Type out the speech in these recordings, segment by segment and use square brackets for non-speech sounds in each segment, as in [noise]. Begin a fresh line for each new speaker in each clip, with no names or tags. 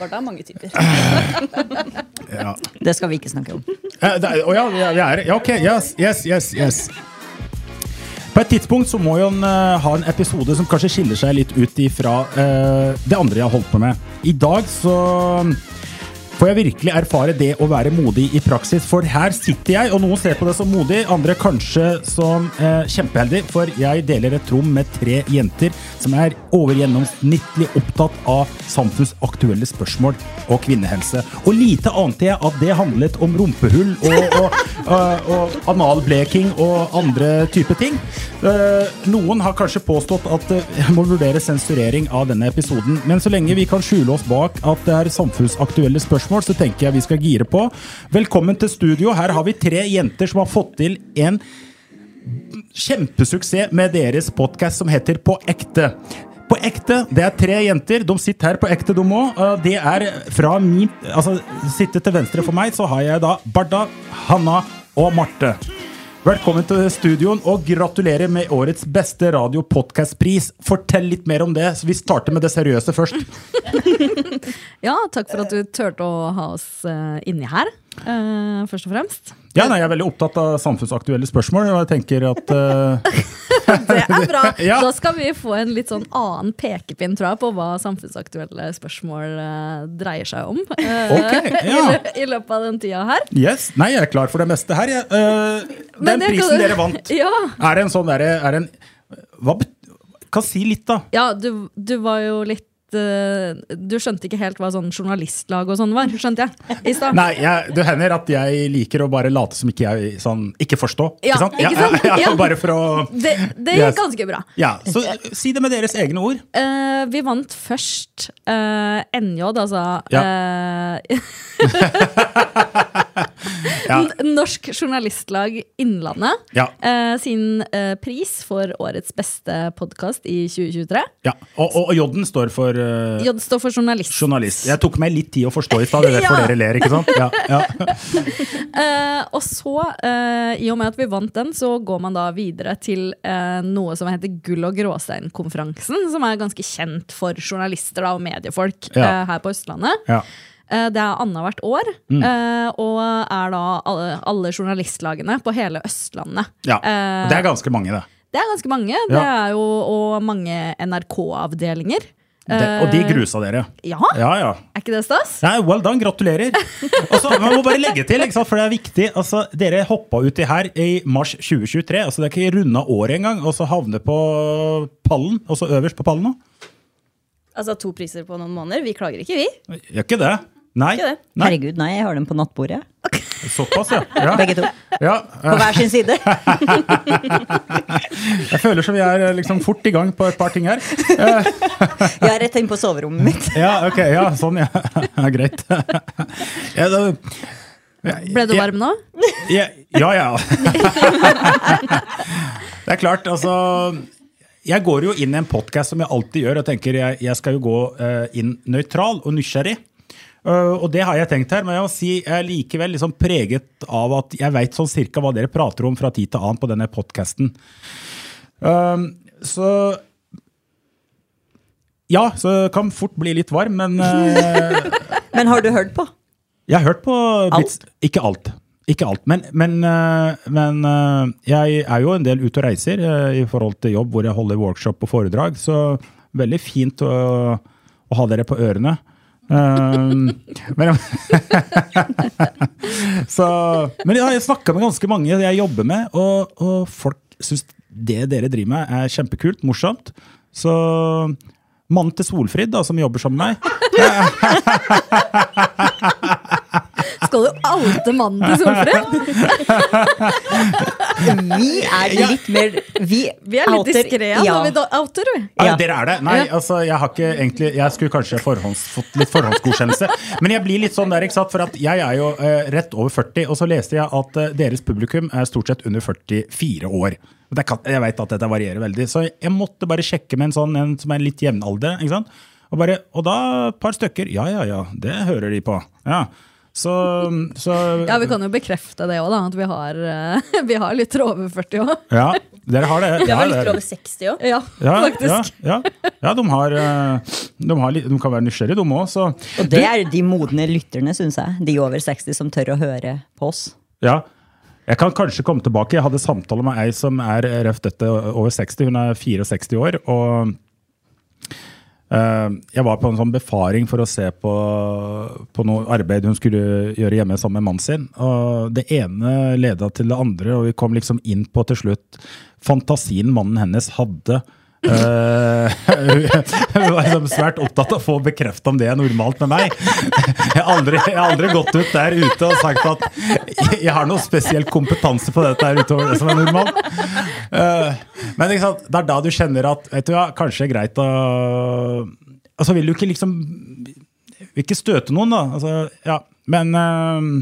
Var da mange typer.
Det skal vi ikke snakke om.
Eh, det er- Å ja, vi er- vi er Ja, ok. Yes, yes, yes. yes. På et tidspunkt så må jo en eh, ha en episode som kanskje skiller seg litt ut ifra eh, det andre jeg har holdt på med. I dag så får jeg virkelig erfare det å være modig i praksis, for her sitter jeg, og noen ser på det som modig, andre kanskje som eh, kjempeheldig, for jeg deler et rom med tre jenter som er over gjennomsnittlig opptatt av samfunnsaktuelle spørsmål og kvinnehelse. Og lite ante jeg at det handlet om rumpehull og, og, og, og analbleking og andre type ting. Eh, noen har kanskje påstått at eh, jeg må vurdere sensurering av denne episoden, men så lenge vi kan skjule oss bak at det er samfunnsaktuelle spørsmål, så tenker jeg vi skal gire på. Velkommen til studio. Her har vi tre jenter som har fått til en kjempesuksess med deres podkast som heter På ekte. På ekte, Det er tre jenter. De sitter her på ekte, de òg. Det er fra min Altså, sitte til venstre for meg, så har jeg da Barda, Hanna og Marte. Velkommen til studioen, og gratulerer med årets beste radio pris Fortell litt mer om det, så vi starter med det seriøse først.
Ja, takk for at du turte å ha oss eh, inni her, eh, først og fremst.
Ja, nei, Jeg er veldig opptatt av samfunnsaktuelle spørsmål, og jeg tenker at eh,
Det er bra!
[laughs] Ja.
Da skal vi få en litt sånn annen pekepinn, tror jeg, på hva samfunnsaktuelle spørsmål eh, dreier seg om. eh, [laughs]
Ok, ja.
I løpet av den tida her.
Yes. Nei, jeg er klar for det meste her, jeg. Eh,
Men
den
jeg
prisen
kan-
dere vant.
[laughs] Ja.
Er det en sånn derre Er det en Hva bet- Kan si litt, da.
Ja, du, du var jo litt eh, Du skjønte ikke helt hva sånn journalistlag og sånn var, skjønte jeg? I stad.
Nei, jeg, det hender at jeg liker å bare late som ikke jeg sånn Ikke forstå.
Ja,
ikke sant?
ikke sant?
[laughs] Ja, ja, ja,
Ja.
bare for å
Det, det gikk
Yes.
ganske bra.
Ja, så eh, si det med deres egne ord.
Eh, vi vant først eh, NJ, altså eh,
[laughs] Ja.
N- Norsk Journalistlag Innlandet
Ja.
eh, sin eh, pris for årets beste podkast i 2023.
Ja. Og, og, og J-en står for eh,
J står for journalist.
journalist. Jeg tok meg litt tid å forstå i stad, det er derfor
Ja.
dere ler, ikke sant? Ja, ja.
Eh, og så, eh, i og med at vi vant den, så går man da videre til eh, noe som heter Gull- og gråsteinkonferansen, som er ganske kjent for journalister da, og mediefolk
Ja.
eh, her på Østlandet.
ja. Mm.
Eh, Det er annethvert år, eh, og er da alle, alle journalistlagene på hele Østlandet.
ja.
Eh,
Det er ganske mange, det.
Det er ganske mange, det
Ja.
er jo og mange NRK-avdelinger.
det. Og de grusa dere.
Eh. Ja,
Ja, ja.
er ikke det stas?
Nei, well done, gratulerer.
[laughs]
Altså, man må bare legge til, ikke sant? for det er viktig. Altså, dere hoppa uti her i mars 2023. altså Det er ikke runda året engang, og så havne på pallen. Og så øverst på pallen nå.
Altså to priser på noen måneder. Vi klager ikke, vi.
Gjør ikke det. Nei.
Ikke det.
Nei.
Herregud, nei, jeg har dem på nattbordet.
Såpass, ja. ja.
Begge to.
ja.
På hver sin side.
Jeg føler som vi er eh, liksom fort i gang på et par ting her.
Jeg er rett inn på soverommet mitt.
Ja, ok, ja, sånn, ja. [laughs] ja greit. Ja, da,
Ble du varm nå?
Ja, ja. [laughs] ja. det er klart, altså Jeg går jo inn i en podkast som jeg alltid gjør, og tenker jeg, jeg skal jo gå eh, inn nøytral og nysgjerrig. Eh, og det har jeg tenkt her, men jeg må si jeg er likevel liksom preget av at jeg veit sånn cirka hva dere prater om fra tid til annen på denne podkasten. så Ja, så det kan fort bli litt varm, men eh,
Men har du hørt på?
jeg har hørt på bits. Ikke alt. Ikke alt, men, men, øh, men øh, jeg er jo en del ute og reiser øh, i forhold til jobb, hvor jeg holder workshop og foredrag. Så veldig fint å, å ha dere på ørene. Um, [laughs] men, så, men ja, jeg snakka med ganske mange jeg jobber med, og, og folk syns det dere driver med, er kjempekult, morsomt. Så mannen til Solfrid, da, som jobber sammen med meg,
Skal du alte mannen til Solfrid?
Vi er litt mer Vi,
[laughs] Vi er litt
outer-
diskré
Ja.
når vi da- outer, vi.
Ja.
Ja.
Dere er det? Nei, altså, jeg har ikke egentlig Jeg skulle kanskje forhånds, fått litt forhåndsgodkjennelse.
[laughs]
Men jeg blir litt sånn der, ikke sant? For at jeg er jo eh, rett over 40, og så leste jeg at eh, deres publikum er stort sett under 44 år. Og Det kan, jeg vet at dette varierer veldig, så jeg måtte bare sjekke med en sånn en som er litt jevnalder. Ikke sant? Og, bare, og da et par stykker. Ja, ja, ja, det hører de på. Ja. Så, så
Ja, Vi kan jo bekrefte det òg, da. At vi har, eh, [laughs] vi har lyttere over 40 òg.
Ja, dere har det.
Vi har
Ja,
vel
det-
litt over 60 òg.
Ja,
ja,
faktisk.
ja, ja, ja, de har, eh, de, har, litt- de kan være nysgjerrige, de òg. Så
Og det er de modne lytterne, syns jeg. De over 60 som tør å høre på oss.
Ja. Jeg kan kanskje komme tilbake. Jeg hadde samtale med ei som er røft dette over 60. Hun er 64 år. og eh, jeg var på en sånn befaring for å se på, på noe arbeid hun skulle gjøre hjemme sammen med mannen sin. Og det ene leda til det andre, og vi kom liksom inn på til slutt fantasien mannen hennes hadde. Eh, [laughs] hun var liksom svært opptatt av å få bekrefta om det er normalt med meg. Jeg har aldri, jeg har aldri gått ut der ute og sagt at jeg- jeg har noe spesiell kompetanse på dette her utover det som er normalt. Eh, Men ikke sant? det er da du kjenner at vet du, hva, kanskje det er greit å Altså vil du ikke liksom Vil ikke støte noen, da. Altså, ja. Men eh,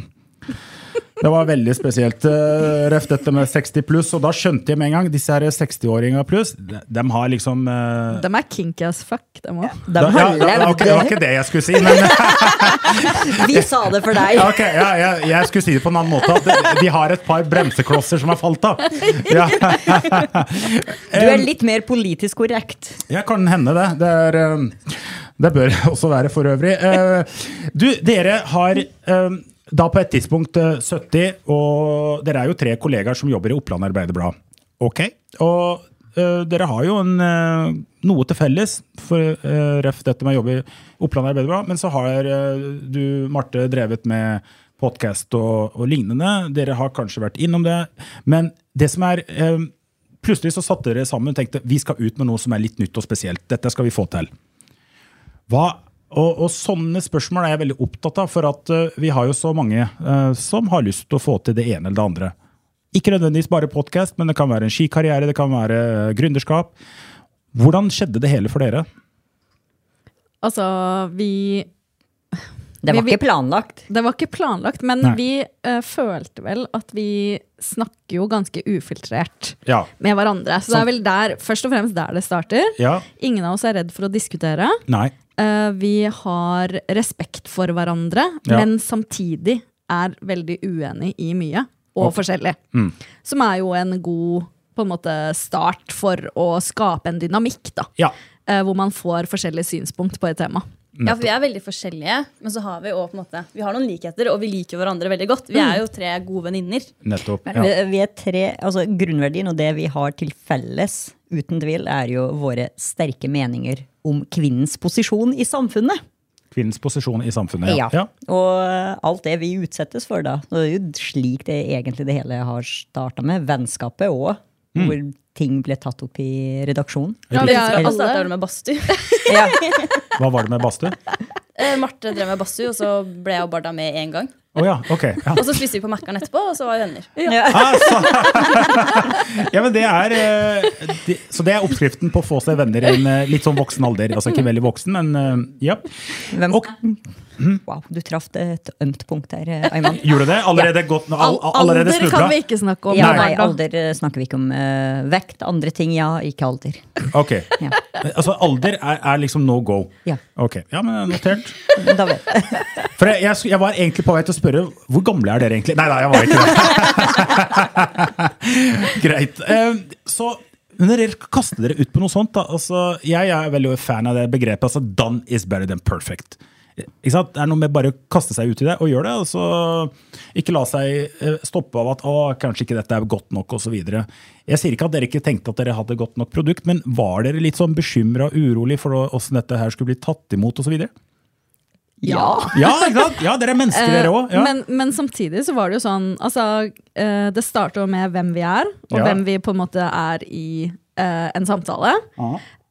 det var veldig spesielt. eh, Røft dette med 60 pluss. Og da skjønte jeg med en gang disse her 60-åringa pluss, de, de har liksom eh,
De er kinky as fuck, dem òg.
De
da-
har
ja, da- ok,
levd
det var ikke det jeg skulle si, men
Vi sa det for deg.
Ja, ok, ja, jeg, jeg skulle si det på en annen måte. At de- de har et par bremseklosser som har falt av. Ja,
Du er litt mer politisk korrekt.
jeg kan hende det. Det, er, um, det bør også være for øvrig. Eh, Du, dere har um, da på et tidspunkt eh, 70, og dere er jo tre kollegaer som jobber i Oppland Arbeiderblad. Ok, og eh, dere har jo en, eh, noe til felles, for eh, ref dette med å jobbe i Oppland Arbeiderblad, men så har eh, du, Marte, drevet med podkast og, og lignende. Dere har kanskje vært innom det. Men det som er eh, Plutselig så satte dere sammen og tenkte vi skal ut med noe som er litt nytt og spesielt. Dette skal vi få til. Hva, og, og sånne spørsmål er jeg veldig opptatt av, for at eh, vi har jo så mange eh, som har lyst til å få til det ene eller det andre. Ikke nødvendigvis bare podkast, men det kan være en skikarriere, det kan være eh, gründerskap. Hvordan skjedde det hele for dere?
Altså, vi
Det var
Vi- vi-
ikke planlagt.
Det var ikke planlagt, men
Nei.
vi eh, følte vel at vi snakker jo ganske ufiltrert
Ja.
med hverandre. Så det er vel der, først og fremst der det starter.
Sånn. Ja.
Ingen av oss er redd for å diskutere.
Nei.
Eh, vi har respekt for hverandre,
Ja.
men samtidig er veldig uenig i mye og forskjellig.
Mm.
Som er jo en god på en måte, start for å skape en dynamikk, da.
Ja.
Eh, hvor man får forskjellige synspunkt på et tema.
Ja, for vi er veldig forskjellige, men så har vi også, på en måte, vi har noen likheter, og vi liker hverandre veldig godt.
Mm.
Vi er jo tre gode venninner.
Nettopp.
Men
Ja.
Vi, vi er tre, altså Grunnverdien og det vi har til felles, uten tvil, er jo våre sterke meninger om kvinnens posisjon i samfunnet.
Kvinnens posisjon i samfunnet.
Ja.
Ja.
Og alt det vi utsettes for, da. Og Det er jo slik det egentlig det hele har starta med. Vennskapet òg, hvor ting ble tatt opp i redaksjonen.
Ja, vi er
Og så
alle
startet vi
[laughs]
med
[laughs]
badstue.
Ja.
Hva var det med badstue? Å
[laughs] Eh, Marte drev med badstue, og så ble jeg og Barda med én gang.
ja, ok. Ja.
Og så spiste vi på Mækkern etterpå, og så var vi venner.
Ja, men det er, eh, det, så det er oppskriften på å få seg venner i en eh, litt sånn voksen alder. Altså ikke veldig voksen, men eh, ja.
Hvem,
Og-
wow, du traff det et ømt punkt der, eh, Ayman.
Gjorde det? Allerede godt nå? All, all- allerede
Alder kan
snubla?
vi ikke snakke om.
[laughs] Ja,
Nei.
nei, alder eh, snakker vi ikke om. eh, vekt, andre ting, ja. Ikke alder.
Ok.
Ja.
Altså alder er, er liksom no go?
Ja.
Ok, ja, men Notert.
Da vet
For jeg, jeg, sk- jeg var egentlig på vei til å spørre hvor gamle er dere egentlig? Nei, nei, jeg var ikke det. [laughs] Greit. Eh, Så men dere kaster dere ut på noe sånt. da. Altså, jeg er veldig fan av det begrepet. altså Done is better than perfect. Ikke sant? Det er noe med bare å kaste seg ut i det og gjøre det. og så Ikke la seg eh, stoppe av at å, kanskje ikke dette er godt nok osv. Jeg sier ikke at dere ikke tenkte at dere hadde godt nok produkt, men var dere litt sånn bekymra og urolig for åssen dette her skulle bli tatt imot osv.?
Ja.
[laughs] Ja, ikke sant? ja, dere er mennesker, dere òg.
Eh,
Ja.
men, men samtidig så var det jo sånn altså, eh, Det starter jo med hvem vi er, og
Ja.
hvem vi på en måte er i eh, en samtale.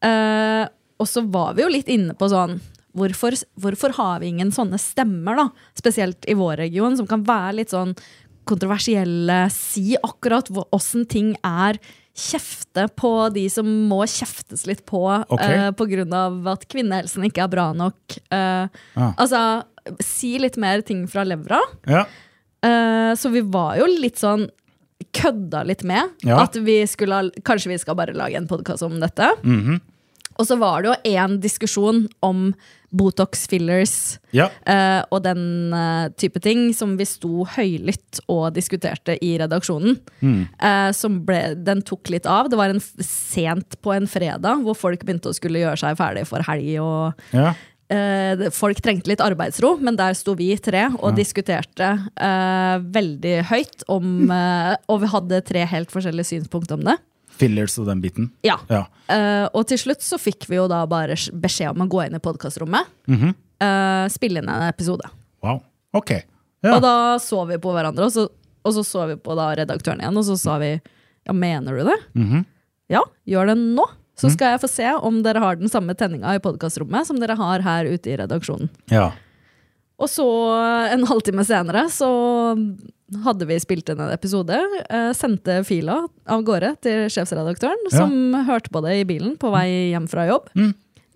Eh, og så var vi jo litt inne på sånn hvorfor, hvorfor har vi ingen sånne stemmer, da? Spesielt i vår region, som kan være litt sånn kontroversielle, si akkurat hva- åssen ting er. Kjefte på de som må kjeftes litt på
Ok.
eh, på grunn av at kvinnehelsen ikke er bra nok. Eh,
Ah.
Altså, si litt mer ting fra levra.
Ja.
Eh, så vi var jo litt sånn kødda litt med
Ja.
at vi skulle ha, kanskje vi skal bare lage en podkast om dette. Og så var det jo én diskusjon om Botox fillers
ja.
eh, og den eh, type ting som vi sto høylytt og diskuterte i redaksjonen. Eh, som ble, den tok litt av. Det var en, f- sent på en fredag hvor folk begynte å skulle gjøre seg ferdig for helg. og
ja.
eh, det- folk trengte litt arbeidsro, men der sto vi tre og diskuterte eh, veldig høyt om eh, Og vi hadde tre helt forskjellige synspunkt om det.
Fillers og den biten.
Ja.
Ja.
Eh, og til slutt så fikk vi jo da bare s- beskjed om å gå inn i podkastrommet. eh, spille inn en episode.
Wow. Ok. Ja.
Og da så vi på hverandre, og så, og så så vi på da redaktøren igjen, og så sa vi ja, mener du det? Ja, gjør det nå. Så skal jeg få se om dere har den samme tenninga i podkastrommet som dere har her ute i redaksjonen.
ja.
Og så en halvtime senere så hadde vi spilt inn en episode, eh, sendte fila av gårde til sjefsredaktøren,
Ja. Mm.
som hørte på det i bilen på vei hjem fra jobb.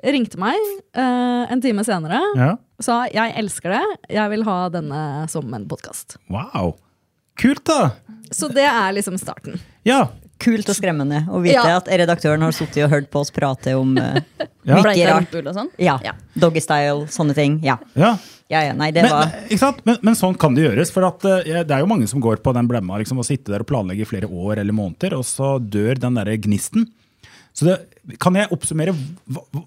Ringte meg eh, en time senere,
ja.
sa jeg elsker det, jeg vil ha denne som en podkast.
Wow. Kult, da.
Så det er liksom starten.
Ja.
Kult og skremmende å vite
Ja.
at redaktøren har sittet og hørt på oss prate om eh,
Ja.
Mye
Bleika
rart.
rumpehull og sånn.
Ja,
Ja.
doggystyle, sånne ting. Ja.
ja.
ja, ja. Nei, det
Men,
var
men- ikke sant? Men, men sånn kan det gjøres. For at, eh, det er jo mange som går på den blemma. Liksom, å sitte der og planlegge i flere år eller måneder, og så dør den derre gnisten. Så det, kan jeg oppsummere hva, hva-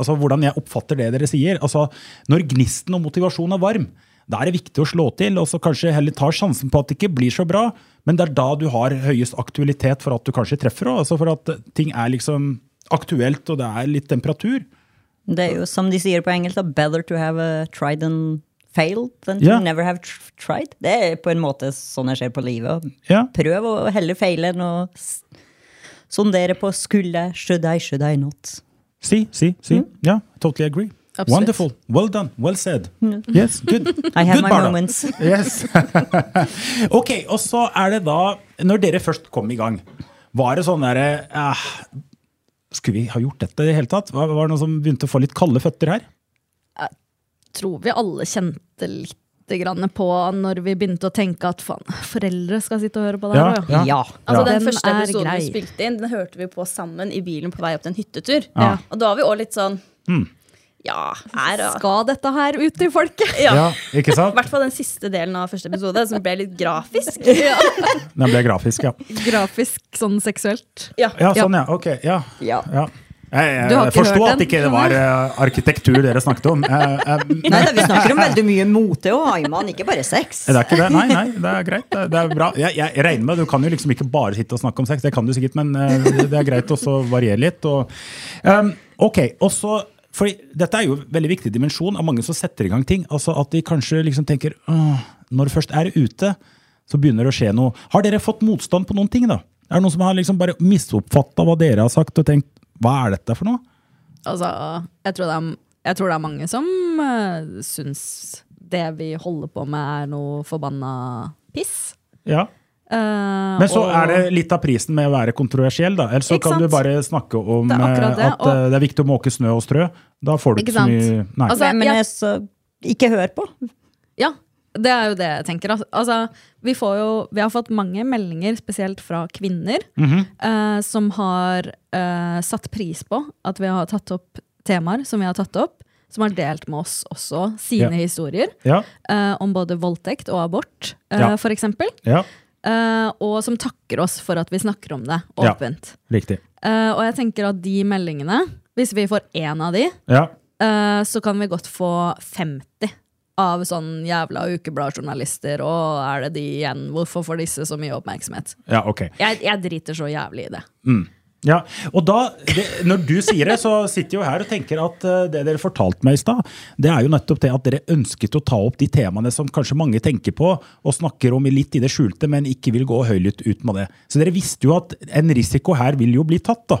altså, hvordan jeg oppfatter det dere sier? Altså, når gnisten og motivasjonen er varm, da er det viktig å slå til, og så kanskje heller ta sjansen på at det ikke blir så bra. Men det er da du har høyest aktualitet for at du kanskje treffer òg. Altså for at eh, ting er liksom aktuelt, og det er litt temperatur.
Det er jo som de sier på engelsk, da, better to have eh, tried and failed than
Ja.
to never have tr tried. Det er på en måte sånn jeg ser på livet. og
Ja.
Prøv å heller feile enn å s- sondere på skulle jeg, should I, should I not.
Si, si, si. Ja, totally agree.
Absolutt.
Wonderful. Well done. Well said. Yes, good.
I have
Good,
my
Barda.
moments.
Yes. [laughs] ok, og så er det da, når dere først kom i gang, var det sånn derre eh, Skulle vi ha gjort dette i det hele tatt? Var var det noen som begynte å få litt kalde føtter her?
Tror vi alle kjente litt grann på når vi begynte å tenke at faen, foreldre skal sitte og høre på det her.
Ja,
også.
ja.
Ja.
Altså,
Ja.
Den,
Den
første
er
episoden
grei.
vi spilte inn, den hørte vi på sammen i bilen på vei opp til en hyttetur.
Ja.
Og da var vi òg litt sånn Ja, her og
Skal dette her ut til folket?
[laughs] ja.
ikke
I hvert fall den siste delen av første episode, som ble litt grafisk.
Den ble grafisk, ja.
Grafisk, sånn seksuelt.
Ja.
Ja, sånn, ja. Ok, ja.
Ja.
ja. Jeg, jeg
Du har ikke
forsto
hørt
at
den?
ikke det var eh, arkitektur dere snakket om. Eh, eh,
Nei, da, vi snakker om veldig mye mote og Ayman, ikke bare sex.
Det er ikke det. Nei, nei, det er greit. Det er, det er bra. Jeg, jeg regner med Du kan jo liksom ikke bare sitte og snakke om sex, det kan du sikkert, men eh, det er greit også å variere litt. Og, um, ok, og så fordi Dette er jo en veldig viktig dimensjon av mange som setter i gang ting. altså At de kanskje liksom tenker «Åh, når det først er ute, så begynner det å skje noe. Har dere fått motstand på noen ting? da? Er det noen som har liksom bare misoppfatta hva dere har sagt, og tenkt hva er dette for noe?
Altså, jeg tror det er, jeg tror det er mange som uh, syns det vi holder på med, er noe forbanna piss.
Ja.
Eh,
Men så
og-
er det litt av prisen med å være kontroversiell, da. Ellers så
Ikke
kan
sant?
du bare snakke om
Det er
eh,
akkurat det,
at eh,
og-
det er viktig å måke snø og strø. Da får du
Ikke
ikke så
sant?
mye Nei.
Altså,
Men
jeg-
jeg så ikke hør på.
Ja, det er jo det jeg tenker. Al- Altså, vi, får jo, vi har fått mange meldinger, spesielt fra kvinner,
Mhm.
eh, som har eh, satt pris på at vi har tatt opp temaer som vi har tatt opp, som har delt med oss også sine
Ja.
historier
Ja,
eh, om både voldtekt og abort, eh,
Ja.
for eksempel.
ja,
Eh, og som takker oss for at vi snakker om det
Ja.
åpent.
riktig.
Eh, og jeg tenker at de meldingene, hvis vi får én av de,
Ja,
Eh, så kan vi godt få 50 av sånn jævla ukebladjournalister. Og er det de igjen? Hvorfor får disse så mye oppmerksomhet?
ja ok.
Jeg, jeg driter så jævlig i det.
Ja, og da, det, Når du sier det, så sitter jeg jo her og tenker at eh, det dere fortalte meg i stad, det er jo nettopp det at dere ønsket å ta opp de temaene som kanskje mange tenker på og snakker om i litt i det skjulte, men ikke vil gå høylytt ut med det. Så dere visste jo at en risiko her vil jo bli tatt, da.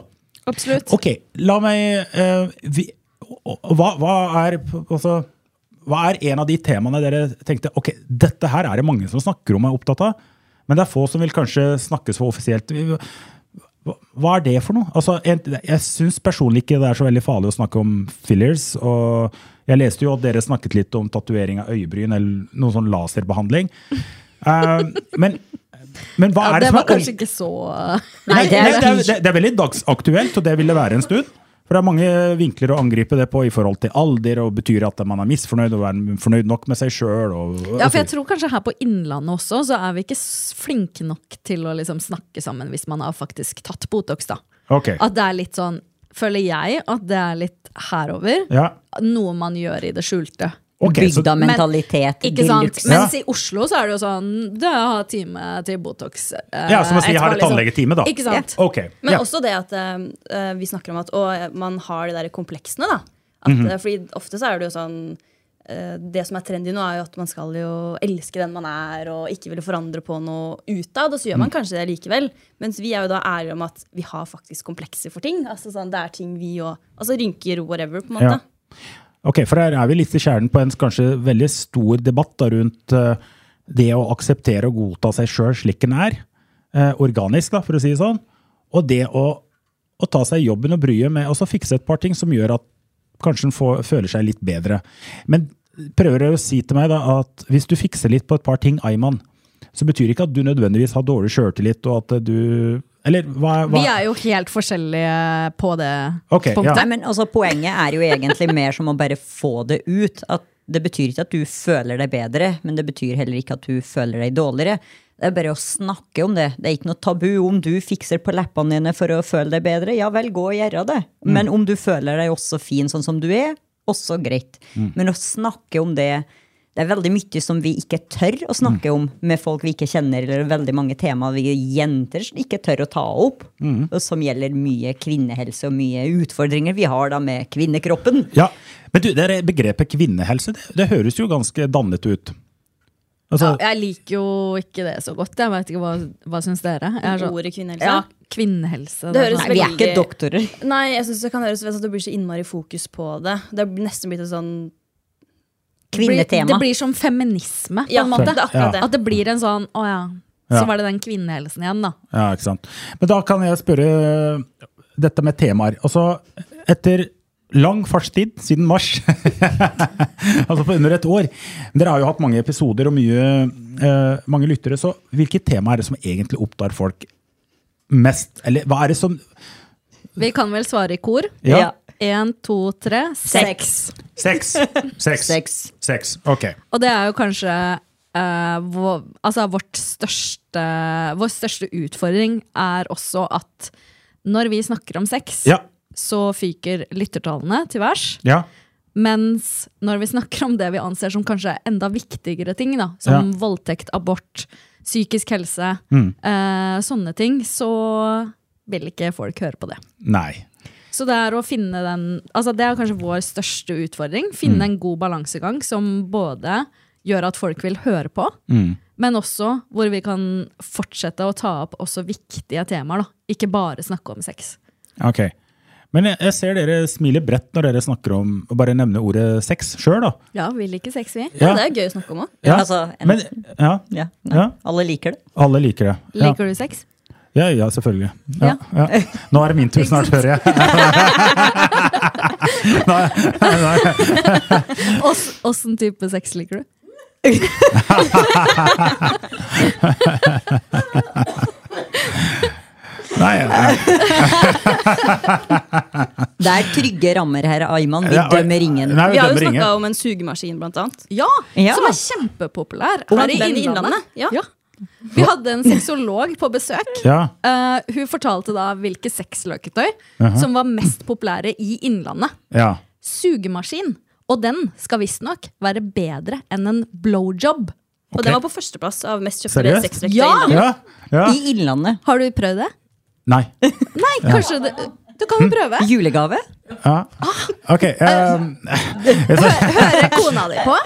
Absolutt.
Ok, la meg eh, vi, og- og- hva, hva er altså, hva er en av de temaene dere tenkte ok, dette her er det mange som snakker om og er opptatt av, men det er få som vil kanskje snakkes for offisielt? Hva- Hva er det for noe? Altså, en, jeg syns personlig ikke det er så veldig farlig å snakke om fillers. og Jeg leste jo at dere snakket litt om tatovering av øyebryn eller noe sånn laserbehandling. Eh, men, men hva
Ja,
er det,
det
som
var
er
kanskje ikke så
Nei,
det
det,
er
er, det, er, det er veldig dagsaktuelt, og det vil det være en stund. For det er mange vinkler å angripe det på i forhold til alder, og betyr at man er misfornøyd og er fornøyd nok med seg sjøl.
Ja, for jeg tror kanskje her på Innlandet også, så er vi ikke s- flinke nok til å liksom snakke sammen hvis man har faktisk tatt Botox, da. At det er litt sånn, føler jeg, at det er litt herover.
ja.
Noe man gjør i det skjulte.
Ok, så,
Bygda-mentalitet.
Ikke sant?
Ja.
Mens i Oslo så er det jo sånn, du har time til Botox. eh,
ja, som å si jeg har
etterpå,
et tannlegetime, da.
Ikke sant?
Ok,
Men
ja.
også det at eh, eh, vi snakker om at å, man har de der kompleksene. da. At,
Mhm.
eh, fordi ofte så er det jo sånn eh, Det som er trendy nå, er jo at man skal jo elske den man er, og ikke ville forandre på noe utad. Og så gjør man
Mhm.
kanskje det likevel. Mens vi er jo da ærlige om at vi har faktisk komplekser for ting. Altså sånn, Det er ting vi òg Altså rynker, whatever, på en måte.
Ja. Ok, for her er vi litt i kjernen på en kanskje veldig stor debatt da, rundt eh, det å akseptere og godta seg sjøl slik en er. eh, organisk, da, for å si det sånn. Og det å, å ta seg jobben og bryet med, og så fikse et par ting som gjør at kanskje en får, føler seg litt bedre. Men prøver dere å si til meg da, at hvis du fikser litt på et par ting, Ayman, så betyr ikke at du nødvendigvis har dårlig sjøltillit, og at eh, du Eller hva, hva
Vi er jo helt forskjellige på det
Ok, ja.
punktet.
Nei, men altså, Poenget er jo egentlig mer som å bare få det ut. At det betyr ikke at du føler deg bedre, men det betyr heller ikke at du føler deg dårligere. Det er bare å snakke om det. Det er ikke noe tabu om du fikser på leppene dine for å føle deg bedre. Ja vel, gå og gjøre det.
Mm.
Men om du føler deg også fin sånn som du er, også greit.
Mm.
Men å snakke om det det er veldig mye som vi ikke tør å snakke om med folk vi ikke kjenner, eller veldig mange temaer vi jenter ikke tør å ta opp,
Mm.
og som gjelder mye kvinnehelse og mye utfordringer vi har da med kvinnekroppen.
Ja, men du, det er begrepet kvinnehelse, det, det høres jo ganske dannet ut. Altså,
Ja, jeg liker jo ikke det så godt. Jeg vet ikke, Hva, hva syns dere? Jeg er sånn-
Ordet kvinnehelse.
ja, kvinnehelse.
Det
er
høres
sånn-
Nei, vi er ikke
Veldig-
doktorer.
Nei, jeg synes det kan høres ut som at det blir så innmari fokus på det. Det er nesten blitt et sånn
Kvinnetema.
Det blir som feminisme, på
Ja,
en måte.
det er akkurat det.
At det blir en sånn Å ja,
Ja.
så var det den kvinnehelsen igjen, da.
ja, ikke sant. Men da kan jeg spørre øh, dette med temaer. Altså, etter lang fartstid, siden mars, [laughs] altså på under et år, dere har jo hatt mange episoder og mye, øh, mange lyttere, så hvilke tema er det som egentlig opptar folk mest? Eller hva er det som...
Vi kan vel svare i kor.
Ja,
Én, to, tre.
Sex.
sex. [laughs] Sex.
Sex.
Sex, ok.
Og det er jo kanskje eh, vår, altså vårt største, vår største utfordring er også at når vi snakker om sex,
Ja,
så fyker lyttertallene til værs.
ja,
Mens når vi snakker om det vi anser som kanskje enda viktigere ting, da, som
Ja. Mm.
voldtekt, abort, psykisk helse, eh, sånne ting, så vil ikke folk høre på det.
nei.
Så det er å finne den altså Det er kanskje vår største utfordring. Finne
Mm.
en god balansegang som både gjør at folk vil høre på,
Mm.
men også hvor vi kan fortsette å ta opp også viktige temaer. da. Ikke bare snakke om sex.
Ok. Men jeg, jeg ser dere smiler bredt når dere snakker om å bare nevne ordet sex sjøl, da.
Ja, vil ikke sex, vi.
Ja, det er gøy å snakke om òg.
Ja.
Altså, en-
Men, ja,
Ja, nei,
ja,
Alle liker det.
alle liker det. Ja,
Liker du sex?
ja, ja selvfølgelig. Ja, ja. Nå er det min tur snart, hører jeg.
Ås- Åssen type sex liker du?
Nei, ja.
Det er trygge rammer her, Ayman. Vi
Ja, og-
dømmer ingen.
Nei,
Vi har jo
dømmer ingen.
snakka om en sugemaskin, blant annet.
Ja,
Ja.
som er kjempepopulær.
Om
her i
den i
Innlandet.
Innlandet, ja.
Vi hadde en sexolog på besøk.
Ja.
Eh, hun fortalte da hvilke sexløketøy som var mest populære i Innlandet.
ja.
Sugemaskin. Og den skal visstnok være bedre enn en blowjob.
Og
Ok.
den var på førsteplass av mest kjøpte
Seriøst?
sexlekter.
Ja!
i Innlandet.
ja. ja.
I Innlandet.
Har du prøvd det?
Nei.
Nei, kanskje det, Du kan
[laughs]
jo prøve.
Julegave?
Ja. Ok. ehm,
Høre kona di på.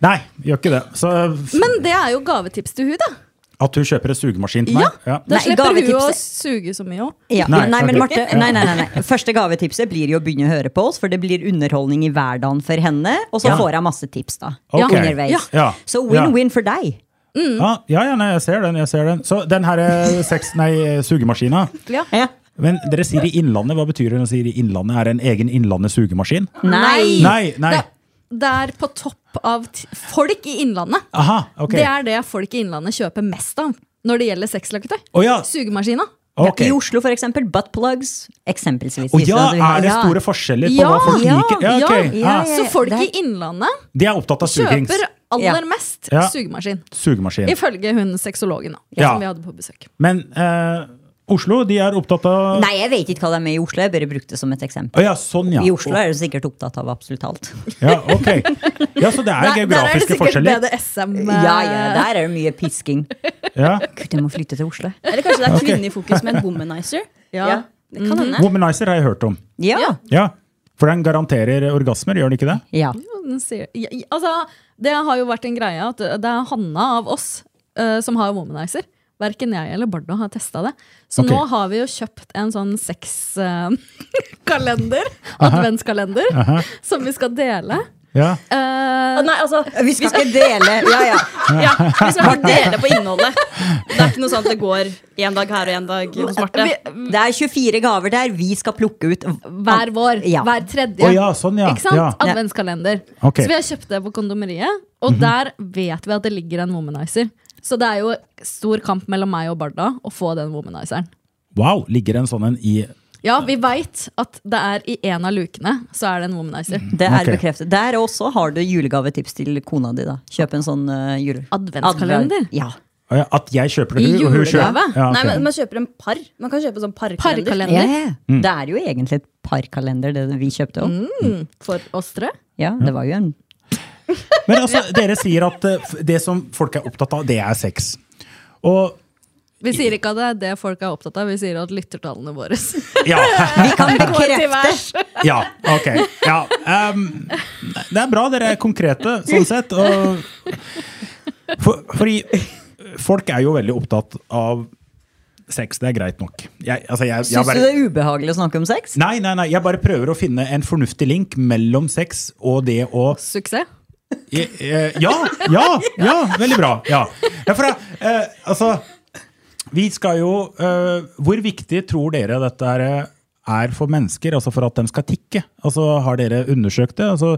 nei, gjør ikke det. Så
Men det er jo gavetips til hun da.
At hun kjøper en sugemaskin til
Ja,
meg? Ja.
Da
Nei,
slipper du å
gavetipset.
suge så mye òg.
Ja.
Nei,
Nei, men
ok.
Marte, nei, nei, nei, nei. Første gavetipset blir jo å begynne å høre på oss, for det blir underholdning i hverdagen for henne. Og så
Ja.
får jeg masse tips da,
Ok.
underveis.
Ja. Ja.
Så win-win for deg.
Ja, Ah, ja, ja nei, jeg ser den. jeg ser den Så den her eh, sex, nei, eh, sugemaskina
Ja.
Men dere sier i Innlandet. Hva betyr det når dere sier i Innlandet? Er det en egen Innlandet sugemaskin?
Nei!
Nei, nei.
Det, det er på topp av t folk i Innlandet.
Aha, ok.
Det er det folk i Innlandet kjøper mest av når det gjelder sexlaketøy.
Å ja.
Sugemaskina.
ok.
I Oslo, for eksempel. Buttplugs, eksempelsvis.
Å
hvis
ja,
du hadde-
er det
Ja.
store forskjeller på
Ja,
hva folk
ja,
liker? Ja, ok.
ja,
Ja,
ja,
Så
ja.
folk
Det
i Innlandet
De er opptatt av sugings.
kjøper
Ja.
aller mest
Ja.
sugemaskin.
Sugemaskin.
Ifølge hun sexologen da,
Ja.
som vi hadde på besøk.
Men eh, Oslo, de er opptatt av
Nei, jeg vet ikke hva de er i Oslo. Jeg bare brukte det som et eksempel.
Å ja, sånn, ja.
I Oslo er de sikkert opptatt av absolutt alt.
Ja, ok. Ja, Så det er geografiske
Der- Der er
forskjeller?
det sikkert BDSM.
[laughs]
eh,
Ja, ja, der er det mye pisking.
Ja.
Gud, jeg må flytte til Oslo.
Eller kanskje det er kvinne i fokus med en womanizer.
Ja.
Det kan hende.
Womanizer har jeg hørt om.
Ja.
Ja, For den garanterer orgasmer, gjør den ikke det?
ja.
Jo, den sier- ja, i- Altså, det har jo vært en greie at det er Hanna av oss eh, som har womanizer. Verken jeg eller Bardo har testa det. Så
Ok.
nå har vi jo kjøpt en sånn [laughs] sexkalender. adventskalender. Som vi skal dele.
Ja.
Eh,
Nei, altså,
Vi skal ikke dele. Ja, ja.
ja, vi skal ikke dele på innholdet. Det er ikke noe sånn at det går en dag her og en dag hos Marte.
Det er 24 gaver der. Vi skal plukke ut
hver vår.
Ja.
Hver tredje.
Å ja, sånn, ja.
Ikke sant?
Ja.
Adventskalender.
Ok. Mhm.
Så vi har kjøpt det på kondomeriet, og der vet vi at det ligger en womanizer. Så det er jo stor kamp mellom meg og Barda å få den womanizeren.
Wow, ligger en sånn en i
Ja, vi veit at det er i en av lukene så er det en womanizer.
Det er
Ok.
bekreftet. Der også har du julegavetips til kona di. da Kjøp en sånn eh, jule...
Adventskalender?
Advent- Ja.
Å ja, At jeg kjøper det,
I
hun, og hun
julegave?
kjøper ja, ok.
Nei, men Man kjøper en par. Man kan kjøpe en sånn parkalender.
Parkalender.
Ja, ja.
Mm.
Det er jo egentlig et parkalender, det vi kjøpte òg.
Mm. For oss tre.
Ja, det var jo en
[laughs]
Men altså, dere sier at eh, f- det som folk er opptatt av, det er sex. Og
Vi sier ikke at det er det folk er opptatt av, vi sier at lyttertallene våre
ja,
Vi kan bekrefte!
ja ok. Ja, ehm, det er bra dere er konkrete, sånn sett. Og, for, fordi folk er jo veldig opptatt av sex. Det er greit nok. Jeg, altså, jeg, jeg
Syns du
bare-
det er ubehagelig å snakke om sex?
Nei, nei, nei, jeg bare prøver å finne en fornuftig link mellom sex og det å
[laughs] Suksess.
Eh, eh, Ja, ja, ja, veldig bra. Ja, ja for jeg, eh, altså Vi skal jo eh, Hvor viktig tror dere dette er, eh, er for mennesker, altså for at de skal tikke? Altså, Har dere undersøkt det? Altså,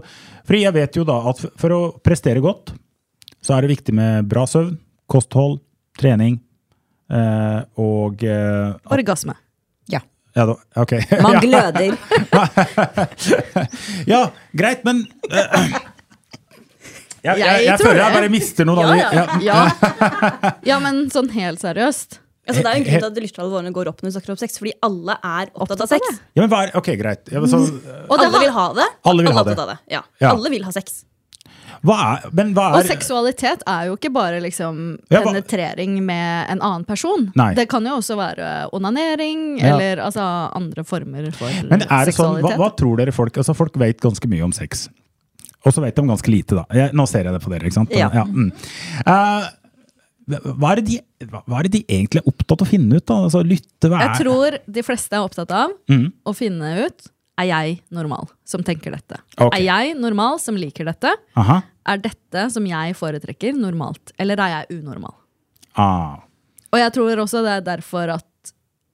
for jeg vet jo da at f- for å prestere godt, så er det viktig med bra søvn, kosthold, trening eh, og eh,
Orgasme.
ja, da, ok.
[laughs]
[laughs]
Man
Ja.
gløder.
Ja, greit, men eh, [clears throat] jeg, jeg, jeg,
Jeg tror
føler jeg
det.
bare mister noen av de.
Ja, ja.
Ja.
Ja. ja, men sånn helt seriøst.
Altså, det er jo en grunn til at lyttertallene våre går opp når vi snakker om sex, fordi alle er opptatt av sex.
Ja, men hva er, ok, greit. Ja, men så,
Og, det
Alle vil
har,
ha det.
Alle vil ha
er
det.
opptatt av Ja.
Ja.
Alle vil ha sex.
hva er, men hva
og
er
seksualitet er jo ikke bare liksom
Ja, hva-
penetrering med en annen person.
Nei.
Det kan jo også være onanering
Ja.
eller altså, andre former for
men er det sånn, hva,
seksualitet.
hva tror dere folk Altså, folk vet ganske mye om sex. Og så vet de ganske lite, da. Jeg, nå ser jeg det på dere, ikke sant?
Ja.
mm. Eh, hva, er det de, hva- hva er det de egentlig er opptatt av å finne ut, da? Altså, lytte, hva er Mm.
Jeg tror de fleste er opptatt av å finne ut er jeg normal som tenker dette.
Ok.
Er jeg normal som liker dette?
Aha.
Er dette som jeg foretrekker, normalt? Eller er jeg unormal?
Ah.
Og jeg tror også det er derfor at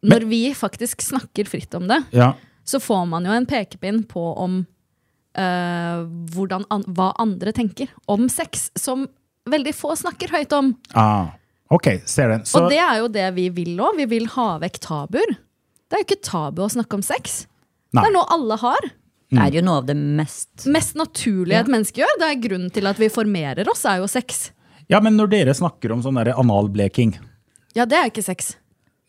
når vi faktisk snakker fritt om det,
Ja.
så får man jo en pekepinn på om eh, hvordan an hva andre tenker om sex, som veldig få snakker høyt om.
Ah. Ok, ser den. Så,
Og det er jo det vi vil òg. Vi vil ha vekk tabuer. Det er jo ikke tabu å snakke om sex.
Nei.
Det er noe alle har.
Det
Mm.
er jo noe av det mest
Mest naturlig et menneske gjør. Det er grunnen til at vi formerer oss, er jo sex.
ja, men når dere snakker om sånn der analbleking
Ja, det er ikke sex.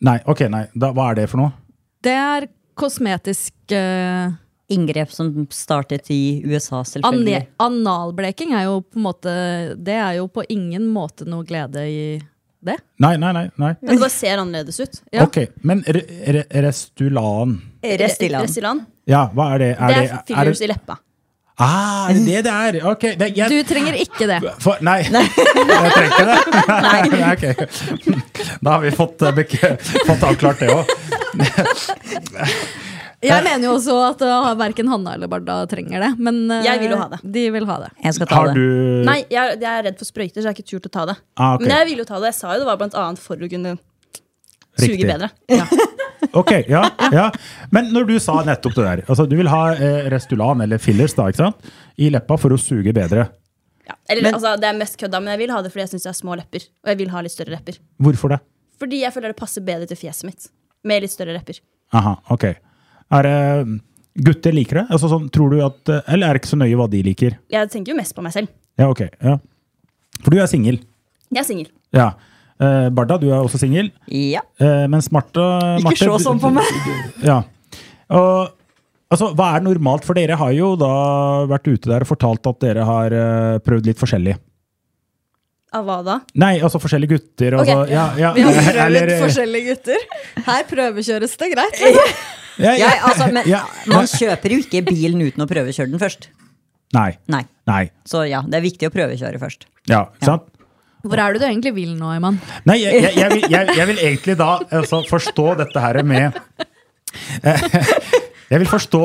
Nei, ok, nei. Da, hva er det for noe?
Det er kosmetisk eh,
inngrep som startet i USA, selvfølgelig.
ane- Analbleking er jo på en måte Det er jo på ingen måte noe glede i det.
Nei, nei, nei. nei.
Men det bare ser annerledes ut.
Ja.
Ok, men re, re, Restulan
Restylane.
Restylane.
Ja, hva er det?
Det
Er
er fillers i
er, det,
leppa.
Ah, er det det det er? Ok, det, jeg,
Du trenger ikke det.
for, nei. [laughs] jeg trenger ikke det. [laughs] Nei, ok. [laughs] Da har vi fått, eh, bek- [laughs] fått avklart det òg.
Jeg mener jo også at uh, verken Hanna eller Barda trenger det. Men uh,
Jeg vil jo ha det.
de vil ha det.
Jeg skal ta
Har
det.
du
Nei, jeg, jeg er redd for sprøyter, så jeg har ikke turt å ta det.
Ah, ok.
Men jeg ville jo ta det. Jeg sa jo det var blant annet for å kunne suge
Riktig.
bedre. Ja.
[laughs] Ok, ja, ja. Men når du sa nettopp det der altså Du vil ha eh, Restulan eller fillers da, ikke sant? i leppa for å suge bedre.
Ja. Eller,
Men-
altså, det er mest kødda, men jeg vil ha det fordi jeg syns jeg har små lepper. Og jeg vil ha litt større lepper.
Hvorfor det?
Fordi jeg føler det passer bedre til fjeset mitt. Med litt større lepper.
Aha, ok. Er det mm, Gutter liker det? Altså, sånn, tror du at, eh, eller er det ikke så nøye hva de liker?
Jeg tenker jo mest på meg selv.
Ja, ok. Ja. For du er singel.
Jeg er singel.
Ja. Eh, Barda, du er også singel.
Ja.
Eh, mens Marte
Ikke
Marte-
se sånn på meg!
Ja. Og, altså, hva er normalt for dere? Har jo da vært ute der og fortalt at dere har eh, prøvd litt forskjellig.
Av hva da?
Nei, altså forskjellige gutter. Altså,
Ok.
ja, ja, [laughs]
[laughs]
eller-
forskjellige gutter. Her prøvekjøres det greit.
liksom. ja, ja,
Ja, altså, men
[laughs] ja.
man kjøper jo ikke bilen uten å prøvekjøre den først.
Nei.
Nei.
Nei.
Så ja, det er viktig å prøvekjøre først.
Ja, sant?
Hvor er det du egentlig vil nå, Iman?
Nei, jeg, jeg, jeg, vil, jeg, jeg vil egentlig da altså, forstå dette her med [laughs] Jeg vil forstå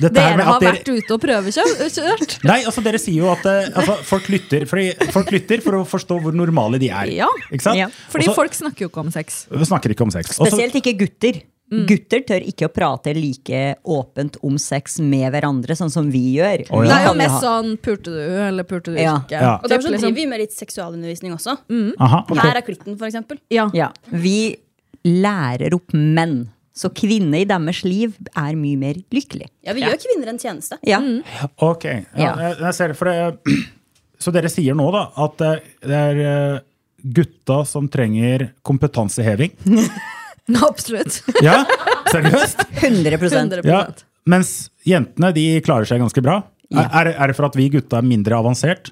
dette her
Dere
med
har
at dere
vært ute og prøvekjørt.
Nei, altså dere sier jo at eh, altså, folk, lytter, fordi folk lytter for å forstå hvor normale de er.
Ja.
Ikke sant?
Ja.
Fordi
Også-
folk snakker jo ikke om sex.
Vi snakker ikke om sex. Også-
Spesielt ikke gutter. Gutter tør ikke å prate like åpent om sex med hverandre, sånn som vi gjør.
Å,
Vi
Det er
kan
jo mest
ha-
sånn pulte du, eller pulte du
Ja.
ikke.
Ja.
Og derfor
Typ
så driver
liksom-
vi med litt seksualundervisning også.
Aha, ok.
Her er klitten, for eksempel.
Ja.
Ja, vi lærer opp menn. Så kvinner i deres liv er mye mer lykkelig.
Ja, vi gjør kvinner en tjeneste.
Ja.
Ok, ja,
Ja.
Jeg, jeg ser det for det. [clears throat] Så dere sier nå da at det er- det er eh, gutta som trenger kompetanseheving?
[laughs] Absolutt.
Ja, seriøst?
100
100
Ja. Mens jentene de klarer seg ganske bra. Er, er det- er det for at vi gutta er mindre avansert?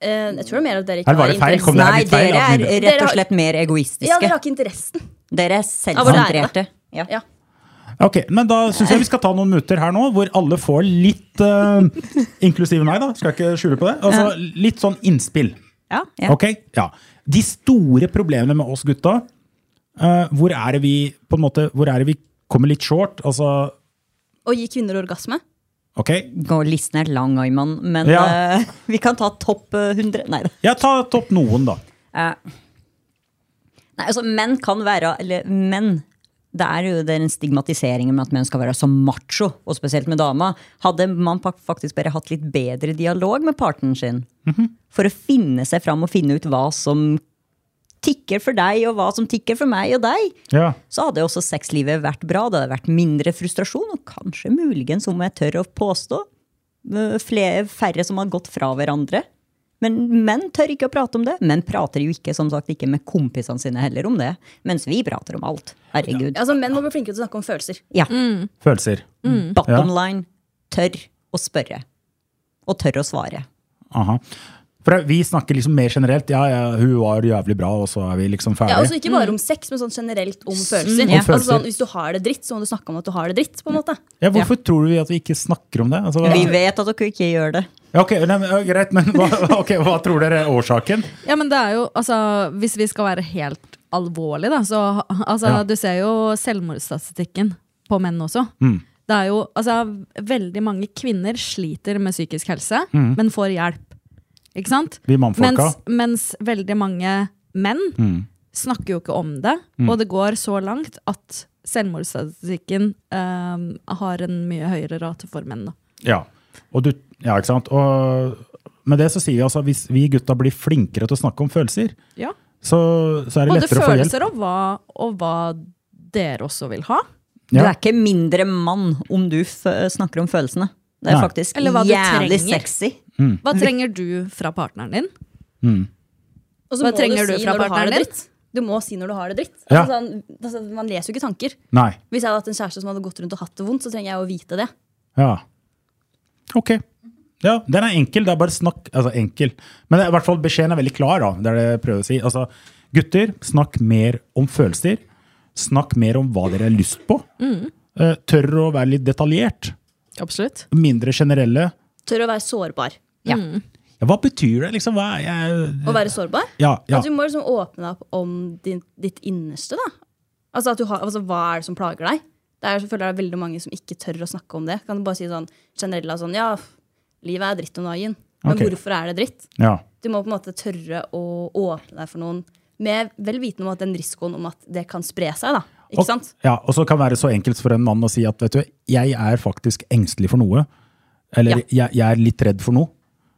Eh, Jeg tror det er mer at dere
Her
ikke
var
har
det feil. Kom
interessen.
det her
Nei,
litt feil?
dere
at
er
vi-
rett og
Dere
slett mer
Ja, dere
egoistiske.
har ikke interessen.
Dere er
Av å lære
selvsentrerte.
det.
Ja.
Ja.
Ok, men da syns jeg vi skal ta noen minutter her nå, hvor alle får litt eh, Inklusive meg, da. Skal jeg ikke skjule på det. Altså, litt sånn innspill.
Ja. Ja.
Ok? Ja. De store problemene med oss gutta, eh, hvor er det vi på en måte, hvor er det vi kommer litt short? Altså,
Å gi kvinner orgasme.
ok?
Og listen er lang, Ayman, men
Ja.
eh, [laughs] vi kan ta topp eh, 100. Nei da.
Ja, ta topp noen, da.
Eh, Nei, altså menn kan være Eller menn det er jo den stigmatiseringen med at menn skal være så macho, og spesielt med dama. Hadde man pak- faktisk bare hatt litt bedre dialog med partneren sin, for å finne seg fram og finne ut hva som tikker for deg, og hva som tikker for meg og deg,
Ja.
så hadde også sexlivet vært bra. Det hadde vært mindre frustrasjon, og kanskje muligens, om jeg tør å påstå, øh, flere, færre som har gått fra hverandre. Men menn tør ikke å prate om det. Menn prater jo ikke som sagt, ikke med kompisene sine heller om det, mens vi prater om alt. Herregud.
Altså, Menn må bli flinkere til å snakke om følelser.
Ja.
Mm.
Følelser.
Mm. Bottom
Ja.
line tør å spørre. Og tør å svare.
Aha. For vi snakker liksom mer generelt. Ja, ja, hun var jævlig bra, og så er vi liksom
Ja, altså
ferdige.
Ikke bare om sex, men sånn generelt om følelser.
ja.
Altså
følelser.
sånn, Hvis du har det dritt, så må du snakke om at du har det dritt. på en måte
Ja, hvorfor tror vi at vi ikke snakker om det? Altså, hva-
Vi vet at dere ikke gjør det.
Ja, ok, nei, men, ja, Greit, men hva, [laughs] ok, hva tror dere er årsaken?
Ja, men det er jo, altså, hvis vi skal være helt alvorlige, da, så altså,
Ja.
Du ser jo selvmordsstatistikken på menn også.
Mm.
Det er jo, altså, veldig mange kvinner sliter med psykisk helse, men får hjelp. Ikke sant?
Mm. Vi mannfolka. Mm.
Mens, mens veldig mange menn snakker jo ikke om det, og det går så langt at selvmordsstatistikken eh, har en mye høyere rate for menn. Da.
Ja, og du, ja ikke sant? Og med det så sier vi altså hvis vi gutta blir flinkere til å snakke om følelser,
Ja.
så, så er det
Både
lettere å få hjelp.
følelser og hva, og hva dere også vil ha.
Du
Ja.
er ikke mindre mann om du f snakker om følelsene. Det er
Nei.
faktisk
Eller hva du
jævlig
trenger.
sexy.
Hva trenger du fra partneren din?
Og så
Hva
må
trenger du
si
fra
når du har det
partneren din?
dritt. Du må si når du har det dritt.
Ja.
Altså, sånn, altså, man leser jo ikke tanker.
Nei.
Hvis jeg hadde hatt en kjæreste som hadde gått rundt og hatt det vondt, så trenger jeg å vite det.
Ja. Ok. Ja, den er enkel. Det er bare snakk. Altså, enkel. Men det er, i hvert fall beskjeden er veldig klar, da. Det er det jeg prøver å si. Altså, gutter, snakk mer om følelser.
Mm.
Snakk mer om hva dere har lyst på. Eh, tør å være litt detaljert.
Absolutt.
mindre generelle.
Tør å være sårbar.
Ja.
Ja, hva betyr det, liksom? Hva er jeg,
Å være sårbar.
ja, ja.
At du må liksom åpne deg opp om din, ditt innerste. da. Altså, at du har, altså Hva er det som plager deg? Det er selvfølgelig det er veldig mange som ikke tør å snakke om det. Kan du bare si sånn generelt da, sånn, ja, f- livet er dritt om dagen. Men
Ok.
hvorfor er det dritt?
ja.
Du må på en måte tørre å åpne deg for noen med vel vitende om at den risikoen om at det kan spre seg. da. Ikke
Og-
sant?
Ja, og så kan det være så enkelt for en mann å si at vet du, jeg er faktisk engstelig for noe. Eller jeg, jeg er litt redd for noe.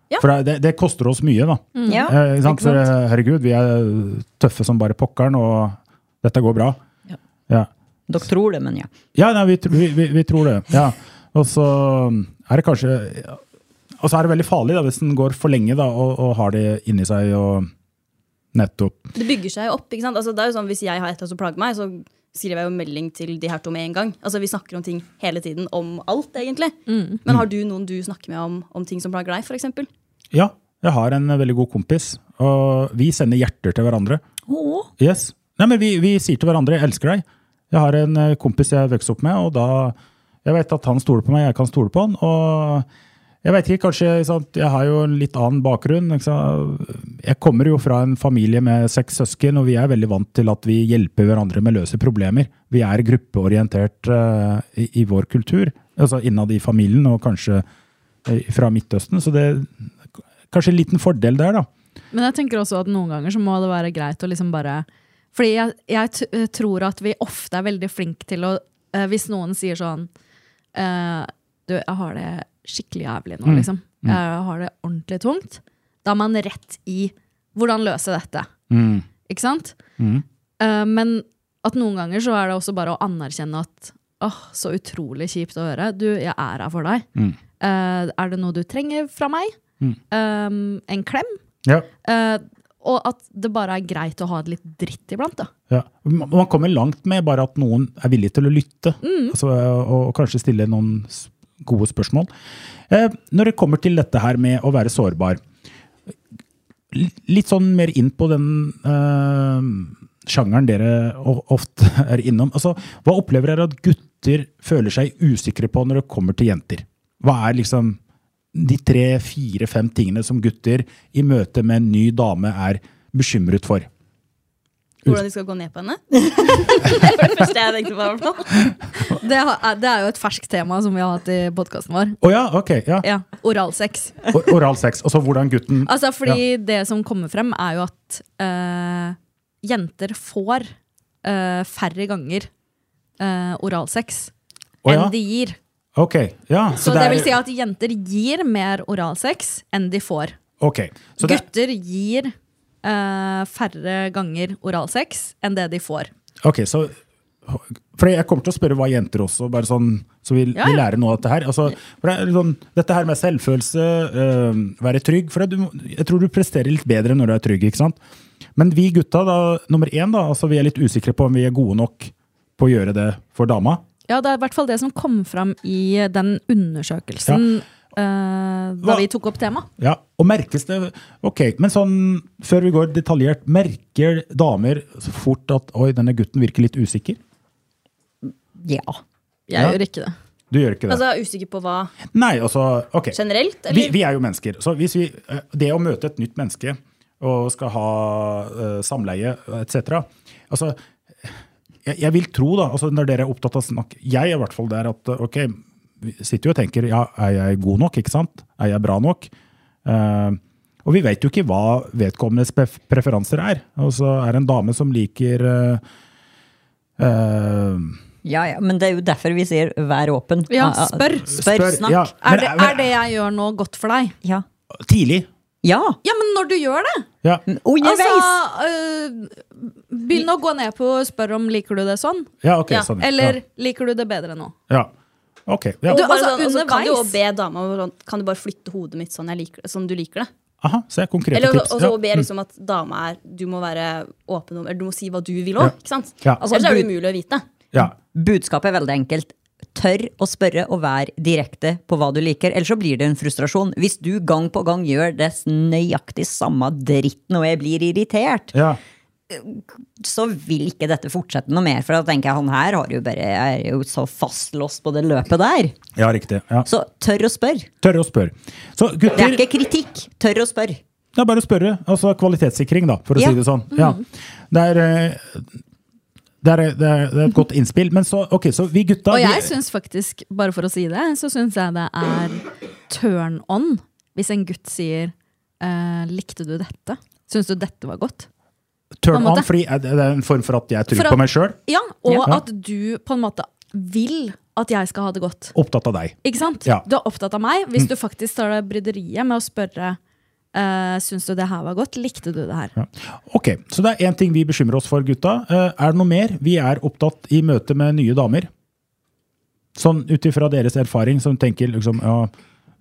Ja.
For det, det koster oss mye, da.
Mm.
Mm.
Ja,
Eh, ikke sant? For, eh, herregud, vi er tøffe som bare pokkeren, og dette går bra.
Ja.
Ja,
Dere tror det, men ja.
ja nei, vi, tr- vi, vi, vi tror det. Ja. Og så mm, er det kanskje Og så er det veldig farlig da, hvis den går for lenge da, og, og har det inni seg. og Nettopp.
Det bygger seg jo opp. ikke sant? Altså, det er jo sånn, Hvis jeg har et eller annet som plager meg, så skriver jeg jo melding til de her to med en gang. Altså, Vi snakker om ting hele tiden, om alt, egentlig.
Mm.
Men
Mm.
har du noen du snakker med om, om ting som plager deg, f.eks.?
Ja, jeg har en veldig god kompis, og vi sender hjerter til hverandre.
Åh.
Yes. Nei, men vi, vi sier til hverandre 'jeg elsker deg'. Jeg har en eh, kompis jeg vokste opp med, og da Jeg vet at han stoler på meg, jeg kan stole på han. Og jeg vet ikke, kanskje ikke sant, Jeg har jo en litt annen bakgrunn. Ikke sant? Jeg kommer jo fra en familie med seks søsken, og vi er veldig vant til at vi hjelper hverandre med å løse problemer. Vi er gruppeorientert eh, i, i vår kultur, altså innad i familien og kanskje eh, fra Midtøsten. Så det er kanskje en liten fordel der, da.
Men jeg tenker også at noen ganger så må det være greit å liksom bare Fordi jeg, jeg t eh, tror at vi ofte er veldig flinke til å eh, Hvis noen sier sånn eh, Du, jeg har det skikkelig jævlig nå, liksom. Jeg har det ordentlig tungt. Da er man rett i hvordan løse dette. Ikke sant? Eh, men at noen ganger så er det også bare å anerkjenne at åh, så utrolig kjipt å høre. Du, jeg er her for deg. Eh, er det noe du trenger fra meg? Eh, en klem?
Ja.
Eh, og at det bare er greit å ha det litt dritt iblant. da.
Ja. Man man kommer langt med bare at noen er villig til å lytte, altså, og, og kanskje stille noen s- gode spørsmål. Eh, når det kommer til dette her med å være sårbar, li- litt sånn mer inn på den eh, sjangeren dere o- ofte [laughs] er innom. Altså, hva opplever dere at gutter føler seg usikre på når det kommer til jenter? Hva er liksom de tre, fire, fem tingene som gutter i møte med en ny dame er bekymret for?
Hvordan de skal gå ned på henne? [laughs] det var det første jeg tenkte på. i hvert fall.
Det, ha- eh, det er jo et ferskt tema som vi har hatt i podkasten vår.
Å ja, ok. Ja.
Ja, Oralsex.
Or- Oral sex. Altså hvordan gutten
Altså, fordi det som kommer frem, er jo at eh, jenter får eh, færre ganger eh, oralsex
Å ja.
enn de gir.
Ok, ja.
Så, det,
er-
vil si at jenter gir mer oralsex enn de får.
Ok, så det,
Gutter gir eh, færre ganger oralsex enn det de får.
ok, så for jeg kommer til å spørre hva jenter også, bare sånn, så vi,
Ja,
vi
ja.
lærer noe av dette her. Altså, for det er litt sånn, dette her med selvfølelse, øh, være trygg, for det, du, må- jeg tror du presterer litt bedre når du er trygg, ikke sant? Men vi gutta, da, nummer én, da, altså, vi er litt usikre på om vi er gode nok på å gjøre det for dama.
Ja, det er i hvert fall det som kom fram i den undersøkelsen eh, da
Hva-
vi tok opp temaet.
Ja, og merkes det Ok, men sånn, før vi går detaljert, merker damer så fort at oi, denne gutten virker litt usikker?
ja.
Jeg
Ja.
gjør ikke det.
Du gjør ikke det?
Altså, Usikker på hva
Nei, altså, ok.
generelt?
Vi,
Eller?
vi er jo mennesker. Så hvis vi, eh, det å møte et nytt menneske og skal ha eh, samleie etc. Altså, jeg, jeg vil tro, da, altså når dere er opptatt av snakk Jeg er i hvert fall der at eh, ok, vi sitter jo og tenker ja, er jeg god nok, ikke sant? Er jeg bra nok? Eh, og vi vet jo ikke hva vedkommendes pref- preferanser er. Altså, er det en dame som liker eh, eh,
Ja, ja, men det er jo derfor vi sier vær åpen.
Ja,
Ah, ah,
spør.
Spør, snakk.
Ja,
Ja.
Er
men,
det, er det jeg gjør nå, godt for deg?
ja.
Tidlig.
Ja, men når du gjør det!
Ja.
Underveis!
Altså, øh, begynn å gå ned på og spørre om liker du det sånn,
ja, ok.
Ja,
sånn.
eller liker du det bedre nå?
ja. ja. Ok. Ja.
Og
Du,
bare
altså,
sånn, og så kan du jo
underveis.
be dama om sånn, Kan du bare flytte hodet mitt sånn, jeg liker det, sånn du liker det?
Aha, så er konkrete
Eller
tips.
også, også
Ja. Mm.
å be liksom at dama er Du må være åpen om Eller du må si hva du vil òg.
Ja.
Ellers
Altså,
er det umulig å vite.
Ja.
Budskapet er veldig enkelt. Tør å spørre og være direkte på hva du liker, ellers så blir det en frustrasjon. Hvis du gang på gang gjør det nøyaktig samme dritten og jeg blir irritert,
Ja.
så vil ikke dette fortsette noe mer. For da tenker jeg han her har jo bare, er jo så fastlåst på det løpet der.
Ja, riktig. Ja.
Så tør å spørre.
Tør å spørre. Så gutter
Det er ikke kritikk. Tør å spørre.
Det er bare å spørre. Altså kvalitetssikring, da, for å
Ja.
si det sånn.
Mhm.
Ja. Det er, eh, det, er, eh, det, er, det er et godt innspill. Men så, ok, så vi gutta
Og
vi-
jeg syns faktisk, bare for å si det, så syns jeg det er turn on hvis en gutt sier eh, 'likte du dette'? Syns du dette var godt? på
Turn
en
on
måte.
fordi er det det er en form for at jeg
For
tror
at-
på meg sjøl.
Ja, og
Ja.
at du på en måte vil at jeg skal ha det godt.
Opptatt av deg.
Ikke sant?
Ja. Mm.
Du er opptatt av meg. Hvis du faktisk tar deg bryderiet med å spørre uh, 'syns du det her var godt', 'likte du det her'?
Ok, Så det er én ting vi bekymrer oss for, gutta. Eh, Er det noe mer? Vi er opptatt i møte med nye damer. Sånn ut ifra deres erfaring, som tenker liksom ja,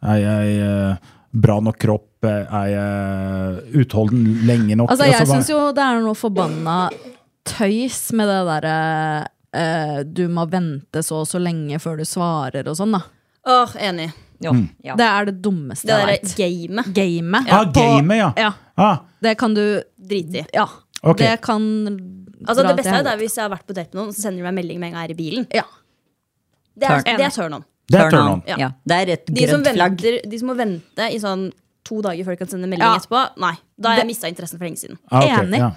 Er jeg eh, bra nok kropp? Eh, Er jeg utholden lenge nok?
Altså, jeg
hva-
syns jo det er noe forbanna tøys med det derre eh, du må vente så og så lenge før du svarer og sånn, da.
Åh, enig.
Ja.
Mm.
Ja.
Det er det dummeste
Det
jeg
derre
veit.
gamet.
Gamet.
Ah, gamet, ja.
Ja,
Ah,
det kan du
Drit i.
Ja.
Ok.
Det kan
Altså,
dra
det
til
beste er jo
helvete.
der hvis jeg har vært på date med noen, så sender de meg melding med en gang jeg er i bilen.
ja.
Det er,
Turn.
det er turn on.
det er turn on.
Ja.
Ja. Det er et
De som,
grønt flagg.
venter, de som må vente i sånn to dager før de kan sende melding
Ja.
etterpå, nei. Da har jeg mista interessen for lenge siden.
Ah, ok,
Enig.
ja.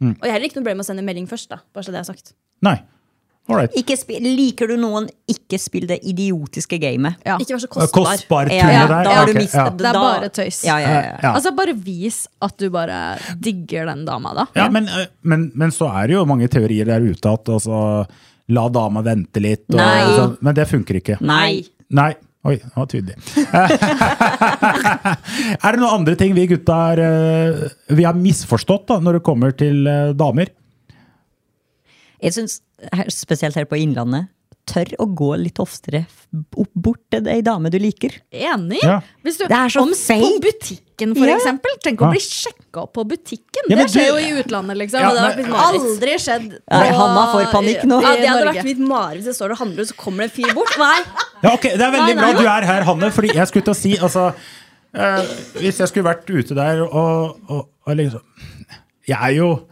Mm.
Og jeg har heller ikke noe problem med å sende melding først, da. Bare så det er sagt.
Nei. All right.
Ikke spi- liker du noen, ikke spill det idiotiske gamet.
Ja.
Ikke vær så
Eh,
kostbar.
Kostbartune
Ja, ja,
der.
da har
Ok,
du mistet
ja.
det.
Det er
Da-
bare tøys.
Ja, ja, ja, ja.
Ja.
Altså, bare vis at du bare digger den dama, da.
Ja, men, eh, men, men så er det jo mange teorier der ute at altså, la dama vente litt. Og,
Nei.
sånn, men det funker ikke.
Nei.
Nei. Oi, det var tydelig. [laughs] er det noen andre ting vi gutta er, eh, vi har misforstått da, når det kommer til eh, damer?
Jeg syns, spesielt her på Innlandet, tør å gå litt oftere f- opp- bort til ei dame du liker.
Enig!
Ja.
Hvis du,
Det er så
om, På
fake.
butikken, for
Ja.
eksempel. Tenk å
Ja.
bli sjekka opp på butikken.
Ja, men
det
du-
skjer jo i utlandet, liksom.
Ja,
og det har
men-
blitt mareritt. aldri skjedd.
Nei, Hanna får panikk nå.
Ja, det hadde
Norge.
vært mitt mareritt. hvis Jeg står og handler, og så kommer det en fyr bort. Nei!
Ja, ok, Det er veldig
Nei, nei.
bra du er her, Hanne, fordi jeg skulle til å si altså, eh, Hvis jeg skulle vært ute der og, og, og liksom Jeg er jo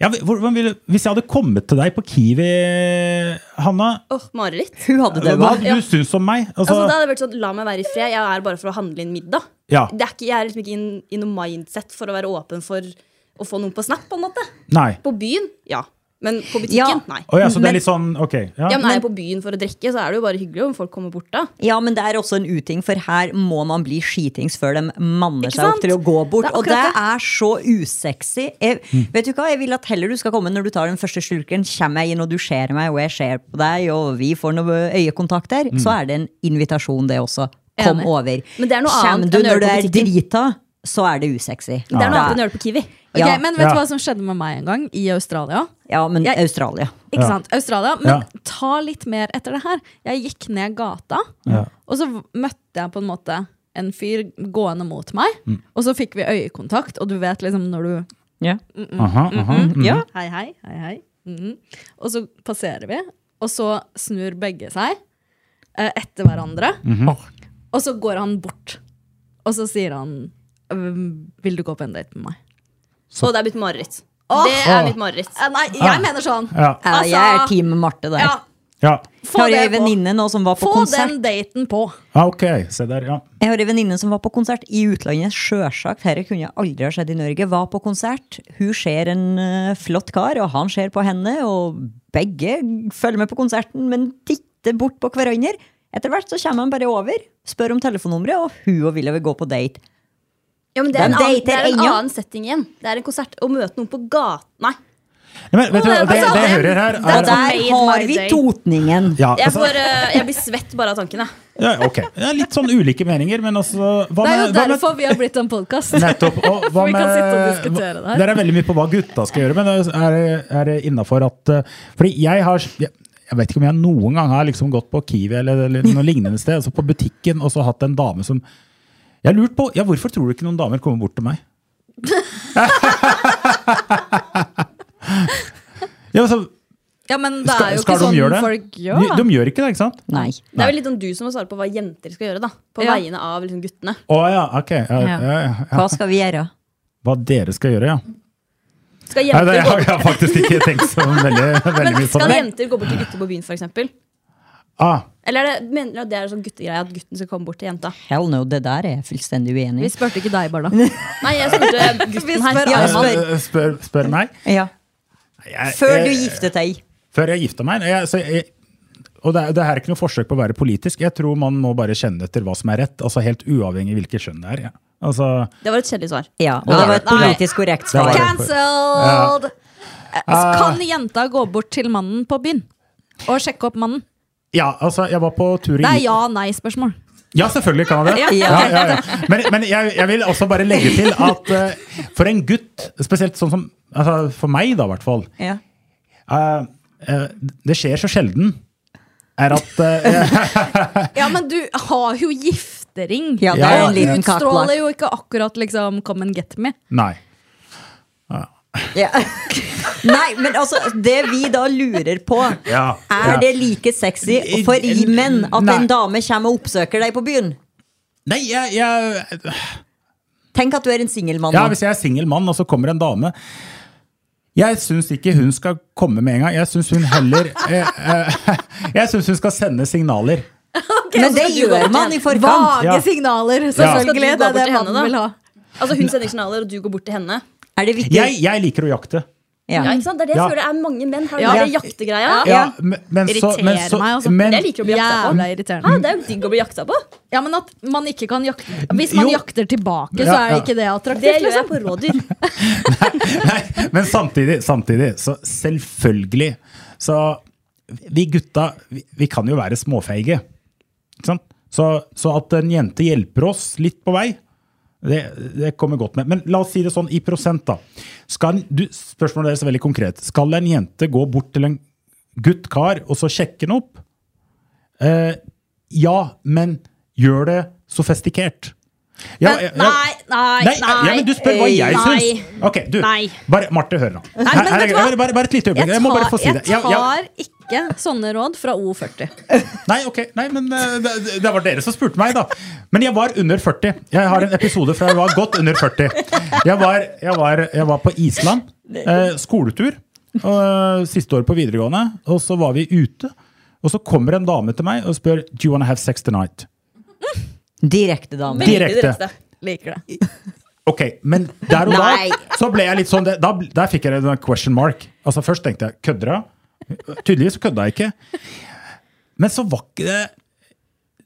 ja, hvordan ville, Hvis jeg hadde kommet til deg på Kiwi, Hanna,
Åh, mareritt.
[laughs]
Hun hadde
hva
daua.
hadde du syntes om meg? Altså,
Altså, da hadde det vært sånn, La meg være i fred. Jeg er her bare for å handle inn middag.
Ja.
Det er ikke, jeg er liksom ikke in- i noe mindset for å være åpen for å få noen på snap. på en måte.
Nei.
På byen, ja. Men på
Ja.
butikken, nei.
Å ja, så det
Men-
er litt sånn Ok. Ja.
Ja, men Er jeg på byen for å drikke, så er det jo bare hyggelig om folk kommer bort da.
Ja, men det er også en uting, for her må man bli skitings før de manner
Ikke
seg opp
sant?
til å gå bort.
Det er
og det
akkurat
er så usexy. Jeg, Vet du hva, jeg vil at heller du skal komme når du tar den første slurken. Kommer jeg inn, og du ser meg, og jeg ser på deg, og vi får noe øyekontakt der, så er det en invitasjon, det også. Kom
Enig.
over.
Men det er noe
Kommer
annet
du
enn å gjøre
når du
det på
er
butikken.
drita, så er det usexy.
Det er noe annet enn
Da-
å gjøre det på Kiwi.
Ok,
Ja.
Men vet
Ja.
du hva som skjedde med meg en gang i Australia?
Ja, men
Jeg-
Australia.
Ikke sant? Australia, Men
Ja.
ta litt mer etter det her. Jeg gikk ned gata,
Ja.
og så v- møtte jeg på en måte en fyr gående mot meg.
Mm.
Og så fikk vi øyekontakt, og du vet liksom når du
Aha, aha.
Mm.
Ja. Hei, hei, hei, hei. Mhm. Og så passerer vi, og så snur begge seg eh, etter hverandre. Og så går han bort, og så sier han «Øhm, Vil du gå på en date med meg?
Og det er blitt mareritt. Det er mitt mareritt.
Eh, nei, jeg mener sånn!
Ah. Ja.
Ja, jeg er team Marte der.
Ja,
ja.
Jeg
få
har ei
det på.
venninne nå som var på
Få
konsert.
den daten på!
Ja, Ah, ok. Se der, ja.
Jeg har en venninne som var på konsert i utlandet. Sjølsagt, dette kunne aldri ha skjedd i Norge. Var på konsert. Hun ser en eh, flott kar, og han ser på henne, og begge følger med på konserten, men titter bort på hverandre. Etter hvert så kommer han bare over, spør om telefonnummeret, og hun og Willy vil gå på date.
Ja, men det
De
er en, annen, det
dater
er en
ennå.
annen setting igjen. Det er en konsert. Å møte noen på gata Nei.
Nei, Men, vet du, hva,
altså,
det, det jeg hører her,
Og
er
der
made
har
my
vi
day.
totningen.
ja,
Jeg,
altså,
får, eh, jeg blir svett bare av tanken, jeg.
ja, ok. Det er litt sånn ulike meninger, men altså hva
Det er jo
med- hva med-
derfor vi har blitt en podkast.
Nettopp.
[laughs]
Og hva
vi
med,
kan sitte og diskutere det her.
Dere er veldig mye på hva gutta skal gjøre, men er, det- er det innafor at eh, Fordi jeg har jeg, jeg vet ikke om jeg noen gang har liksom gått på Kiwi eller, eller noe lignende sted, altså på butikken, og så hatt en dame som Jeg har lurt på ja, hvorfor tror du ikke noen damer kommer bort til
[laughs]
meg? ja, altså,
Ja, men det
skal,
er jo ikke
skal de
sånn
gjøre det?
folk gjør.
De,
da.
de gjør ikke det, ikke sant?
Nei.
Det er vel litt sånn du som må svare på hva jenter skal gjøre, da. På
Ja.
vegne av liksom, guttene.
Å ja, ok. Ja, ja, ja.
Hva skal vi gjøre?
Hva dere skal gjøre, ja.
Skal
Nei,
jenter
det, [laughs] jeg,
gå
har- jeg har faktisk ikke tenkt så veldig, veldig
Men
mye på
skal
det.
jenter gå bort til gutter på byen, for eksempel?
Ah,
Eller er det, mener dere at det er en sånn guttegreie at gutten skal komme bort til jenta?
Hell no, det der er jeg fullstendig uenig
Vi
i.
spurte ikke deg, [laughs] Barda. Nei,
Nei, jeg
[laughs]
spurte
Vi
gutten her.
spør
Ja,
Arman.
spør.
eh, spør, spør meg.
Ja.
Jeg-
Før du
jeg-
giftet deg.
Før jeg gifta meg. Jeg, så jeg, og det, er- det her er ikke noe forsøk på å være politisk. Jeg tror man må bare kjenne etter hva som er rett, altså helt uavhengig av hvilket kjønn det er. Ja. Altså,
Det var et kjedelig svar.
Ja, og det var et
Nei.
politisk korrekt
Det
svar.
var det.
Cancelled! Eh,
Ah.
Kan jenta gå bort til mannen på byen og sjekke opp mannen?
ja, altså, jeg var på tur i
Det er ja-nei-spørsmål.
Ja, selvfølgelig kan jeg det.
Ja.
Ja, ja, ja. Men, men jeg, jeg vil også bare legge til at eh, for en gutt, spesielt sånn som altså, For meg, da, i hvert fall.
Ja.
eh, eh, det skjer så sjelden. Er at eh,
Ja, men du har jo giftering.
Ja, det
Ja,
er en liten
Stråler
kakelakk.
jo ikke akkurat liksom 'come and get me'.
Nei.
Ja. Nei, men altså, det vi da lurer på,
Ja.
er det like sexy for i menn at
Nei.
en dame kommer og oppsøker deg på byen?
Nei, jeg, jeg
Tenk at du er en singelmann.
Ja,
nå.
hvis jeg er singel mann, og så kommer en dame Jeg syns ikke hun skal komme med en gang. Jeg syns hun heller eh, eh, [laughs] Jeg syns hun skal sende signaler.
men det gjør man i forkant.
Vage
Ja.
signaler!
Skal du
Selvfølgelig. Det
gå
er
bort
det
til henne,
mannen
da?
vil ha.
Altså Hun sender signaler, og du går bort til henne.
Er det viktig?
Jeg, jeg liker å jakte.
Ja.
Ja, ikke sant? Det er det jeg
Ja.
føler det er mange menn her.
Ja.
Det er jaktegreia.
Ja, men, men så,
Irriterer
men så,
meg, altså.
men,
Jeg liker å bli jakta
Jævla
på. Hæ,
irriterende.
det er jo digg å bli jakta på.
Ja, men at man ikke kan jakte Hvis man
Jo.
jakter tilbake, så
Ja,
er
ja.
ikke det attraktivt.
Det gjør jeg
liksom.
på rådyr.
Nei, men samtidig, samtidig, så selvfølgelig. Så vi gutta, vi, vi kan jo være småfeige. Ikke sant? Så, så at en jente hjelper oss litt på vei, det, det kommer godt med. Men la oss si det sånn i prosent, da. Skal, en- du, spørsmålet deres er veldig konkret. Skal en jente gå bort til en gutt kar og så sjekke den opp? Eh, ja, men gjør det sofistikert. Ja, ja, ja.
Nei, nei,
Nei, Ja, men du spør hva jeg
Nei.
syns. Ok, du.
Nei.
Bare, Marte, hør nå. Her,
men
her,
vet du hva?
bare, bare, bare et lite øyeblikk.
Jeg
Jeg, må bare få
tar,
si det.
jeg
Ja, ja.
tar ikke sånne råd fra O40.
Nei, ok. Nei, men eh, det, det var dere som spurte meg, da. Men jeg var under 40. Jeg har en episode fra jeg var godt under 40. Jeg var, jeg var, jeg var på Island. Eh, skoletur. eh, siste år på videregående. Og så var vi ute. Og så kommer en dame til meg og spør Do you wanna have sex tonight?
Direkte dame.
Direkte.
Liker det.
Ok, men der og
Nei.
da så ble jeg litt sånn, det- da, bl- Der fikk jeg en sånn question mark. Altså Først tenkte jeg kødder jeg? Tydeligvis kødda jeg ikke. Men så var ikke det,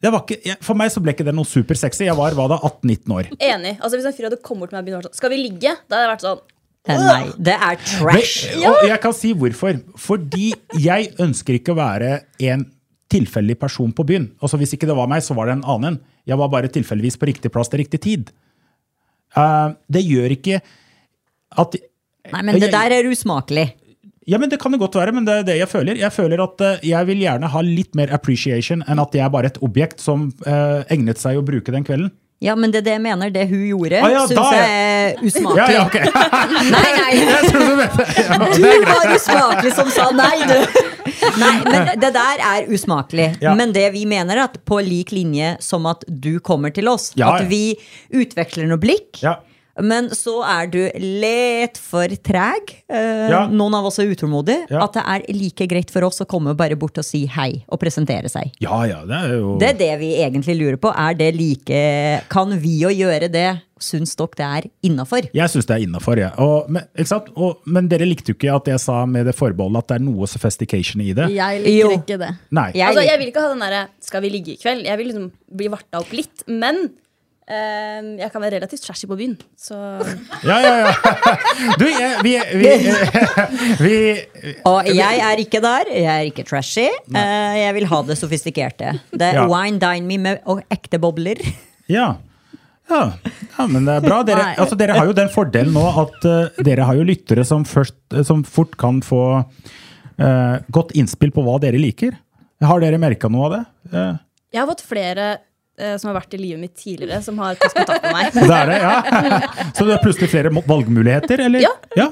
det var ikke, jeg- For meg så ble ikke det noe supersexy. Jeg var hva da, 18-19 år.
Enig. Altså Hvis en fyr hadde kommet bort til meg og begynt å være sånn Skal vi ligge? Da hadde jeg vært sånn.
Eh, Nei, det er trash.
Men- Og jeg kan si hvorfor. Fordi jeg ønsker ikke å være en tilfeldig person på byen. Altså Hvis ikke det var meg, så var det en annen. Jeg var bare tilfeldigvis på riktig plass til riktig tid. Eh, det gjør ikke at
Nei, men det der er usmakelig.
Ja, men Det kan det godt være, men det er det jeg føler. Jeg føler at eh, jeg vil gjerne ha litt mer appreciation enn at jeg er bare et objekt som eh, egnet seg å bruke den kvelden.
Ja, men det er det jeg mener. Det hun gjorde,
Ah, ja, da
syns
er-
jeg er usmakelig.
Ja, ja, ok!
[laughs] Nei, nei.
[laughs] Jeg tror du mente ja,
Du
det. er greit.
var usmakelig som sa nei, du. Nei, men det der er usmakelig.
Ja.
Men det vi mener, er at på lik linje som at du kommer til oss,
Ja, ja.
at vi utveksler noe blikk.
Ja.
Men så er du litt for treg. Eh,
Ja.
Noen av oss er utålmodige.
Ja.
At det er like greit for oss å komme bare bort og si hei og presentere seg.
ja, ja, det er jo
Det er det vi egentlig lurer på. Er det like Kan vi å gjøre det? Syns dere det er innafor?
Jeg syns det er innafor, jeg. Og, men, ikke sant? Og, men dere likte jo ikke at jeg sa med det forbeholdet at det er noe sophistication i det.
Jeg liker
Jo.
ikke det.
Nei.
Jeg
Altså,
lik-
jeg vil ikke ha den derre 'skal vi ligge i kveld'? Jeg vil liksom bli varta opp litt. Men eh, jeg kan være relativt trashy på byen. Så
Ja, ja, [laughs] ja. Du, jeg, vi, vi,
[laughs]
vi,
Og jeg er ikke der. Jeg er ikke trashy. Eh, Jeg vil ha det sofistikerte. Det er
Ja.
wine dine me med og ekte bobler.
Ja. Ja. ja, men det er bra. Dere,
Nei.
altså, dere har jo den fordelen nå at eh, dere har jo lyttere som, først, som fort kan få eh, godt innspill på hva dere liker. Har dere merka noe av det? Eh,
jeg har fått flere eh, som har vært i livet mitt tidligere, som har tatt kontakt med
[laughs]
meg.
det er det, ja. [laughs] Så det er plutselig flere mo- valgmuligheter, eller?
Ja.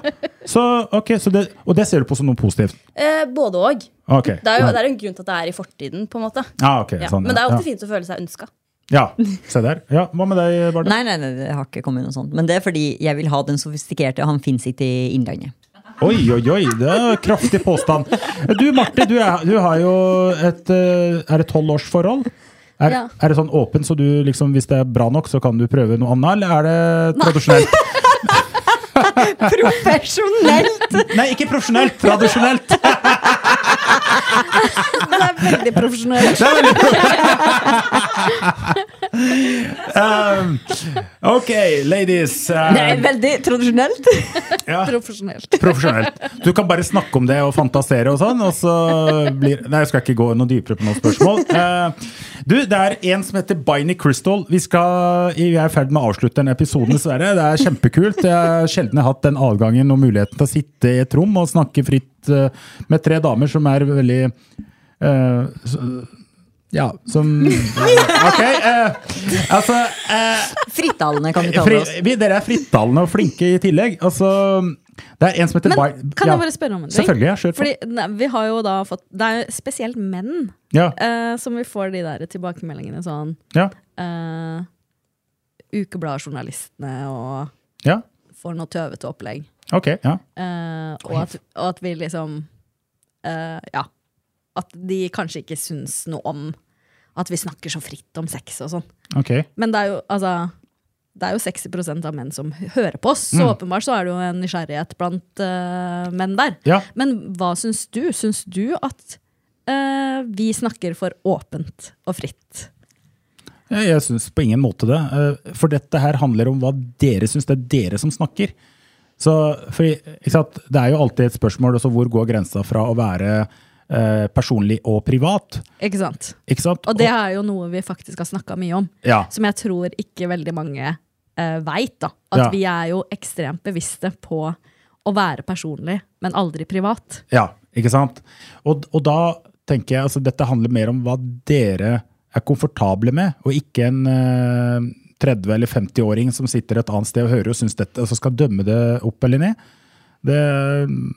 Så, ok, så det, og det ser du på som noe positivt?
Eh, både òg.
Ok.
Det er jo
ja.
det er en grunn til at det er i fortiden. på en måte
Ah, ok,
ja.
sånn,
Men det er
ja.
alltid fint å føle seg ønska.
Ja, se der. Ja, hva med deg, Barda?
Nei, nei, nei, det har ikke kommet noe sånt. Men det er fordi jeg vil ha den sofistikerte, og han fins ikke i Innlandet.
Oi, oi, oi, det er en kraftig påstand. Du Marte, du, er, du har jo et eh, Er det tolvårsforhold? Er,
Ja.
er det sånn åpen, så du liksom, hvis det er bra nok, så kan du prøve noe annet, eller er det tradisjonelt?
Profesjonelt!
Nei, ikke profesjonelt! Tradisjonelt!
Men det er veldig profesjonelt.
Det er veldig um, Ok, ladies. eh,
Det er veldig tradisjonelt.
ja.
profesjonelt.
Profesjonelt. Du kan bare snakke om det og fantasere og sånn, og så blir Nei, jeg skal ikke gå noe dypere på noen spørsmål. Eh, du, det er en som heter Biney Crystal. Vi, skal, vi er i ferd med å avslutte den episoden, dessverre. Det er kjempekult. Jeg har sjelden hatt den adgangen og muligheten til å sitte i et rom og snakke fritt eh, med tre damer som er veldig eh, så- ja, som
[laughs]
Ok. eh, altså eh,
Frittalende kan vi kalle oss.
Fri, vi, dere er frittalende og flinke i tillegg. Altså, det er en som heter
Men
Bar-
kan
ja,
jeg bare spørre om en ting?
Selvfølgelig, ja, kjør på.
Fordi ne, vi har jo da fått Det er jo spesielt menn
ja,
eh, som vi får de der tilbakemeldingene sånn
ja,
eh, Ukebladjournalistene og
ja,
får noe tøvete opplegg.
ok. Ja.
Eh, og, at, og at vi liksom eh, Ja. At de kanskje ikke syns noe om at vi snakker så fritt om sex og sånn.
ok.
Men det er jo, altså, det er jo 60 av menn som hø- hører på oss, så
Mm.
åpenbart så er det jo en nysgjerrighet blant eh, menn der.
Ja.
Men hva syns du? Syns du at eh, vi snakker for åpent og fritt?
Jeg, jeg syns på ingen måte det. eh, For dette her handler om hva dere syns. Det er dere som snakker. Så, for, ikke sant? Det er jo alltid et spørsmål altså, hvor går grensa fra å være eh, personlig og privat.
Ikke sant?
Ikke sant?
Og det er jo noe vi faktisk har snakka mye om,
Ja.
som jeg tror ikke veldig mange uh, veit. da. At
Ja.
vi er jo ekstremt bevisste på å være personlig, men aldri privat.
Ja, ikke sant? Og, og da tenker jeg altså dette handler mer om hva dere er komfortable med, og ikke en eh, 30- eller 50-åring som sitter et annet sted og hører og syns dette, og så skal dømme det opp eller ned. Det mm,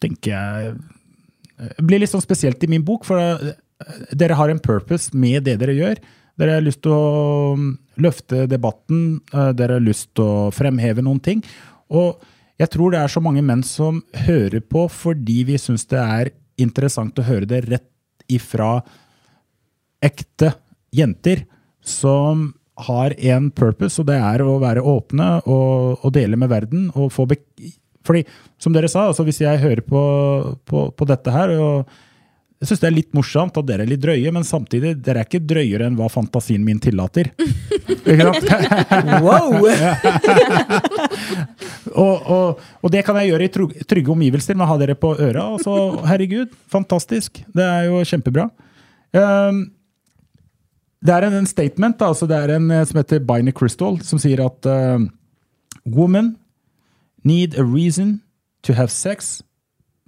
tenker jeg eh, blir litt sånn spesielt i min bok, for eh, dere har en purpose med det dere gjør. Dere har lyst til å mm, løfte debatten, eh, dere har lyst til å fremheve noen ting. Og jeg tror det er så mange menn som hører på fordi vi syns det er interessant å høre det rett ifra ekte jenter som har en purpose, og det er å være åpne og, og dele med verden. og få bek Fordi, som dere sa, altså hvis jeg hører på, på, på dette her og jeg syns det er litt morsomt at dere er litt drøye, men samtidig, dere er ikke drøyere enn hva fantasien min tillater. Ikke sant? [laughs]
Wow!
og, og, og det kan jeg gjøre i tro- trygge omgivelser med å ha dere på øra. Og så, herregud, fantastisk. Det er jo kjempebra. Ehm, det er en, en statement da, altså det er en eh, som heter Biney Crystal, som sier at eh, Women need a reason to have sex.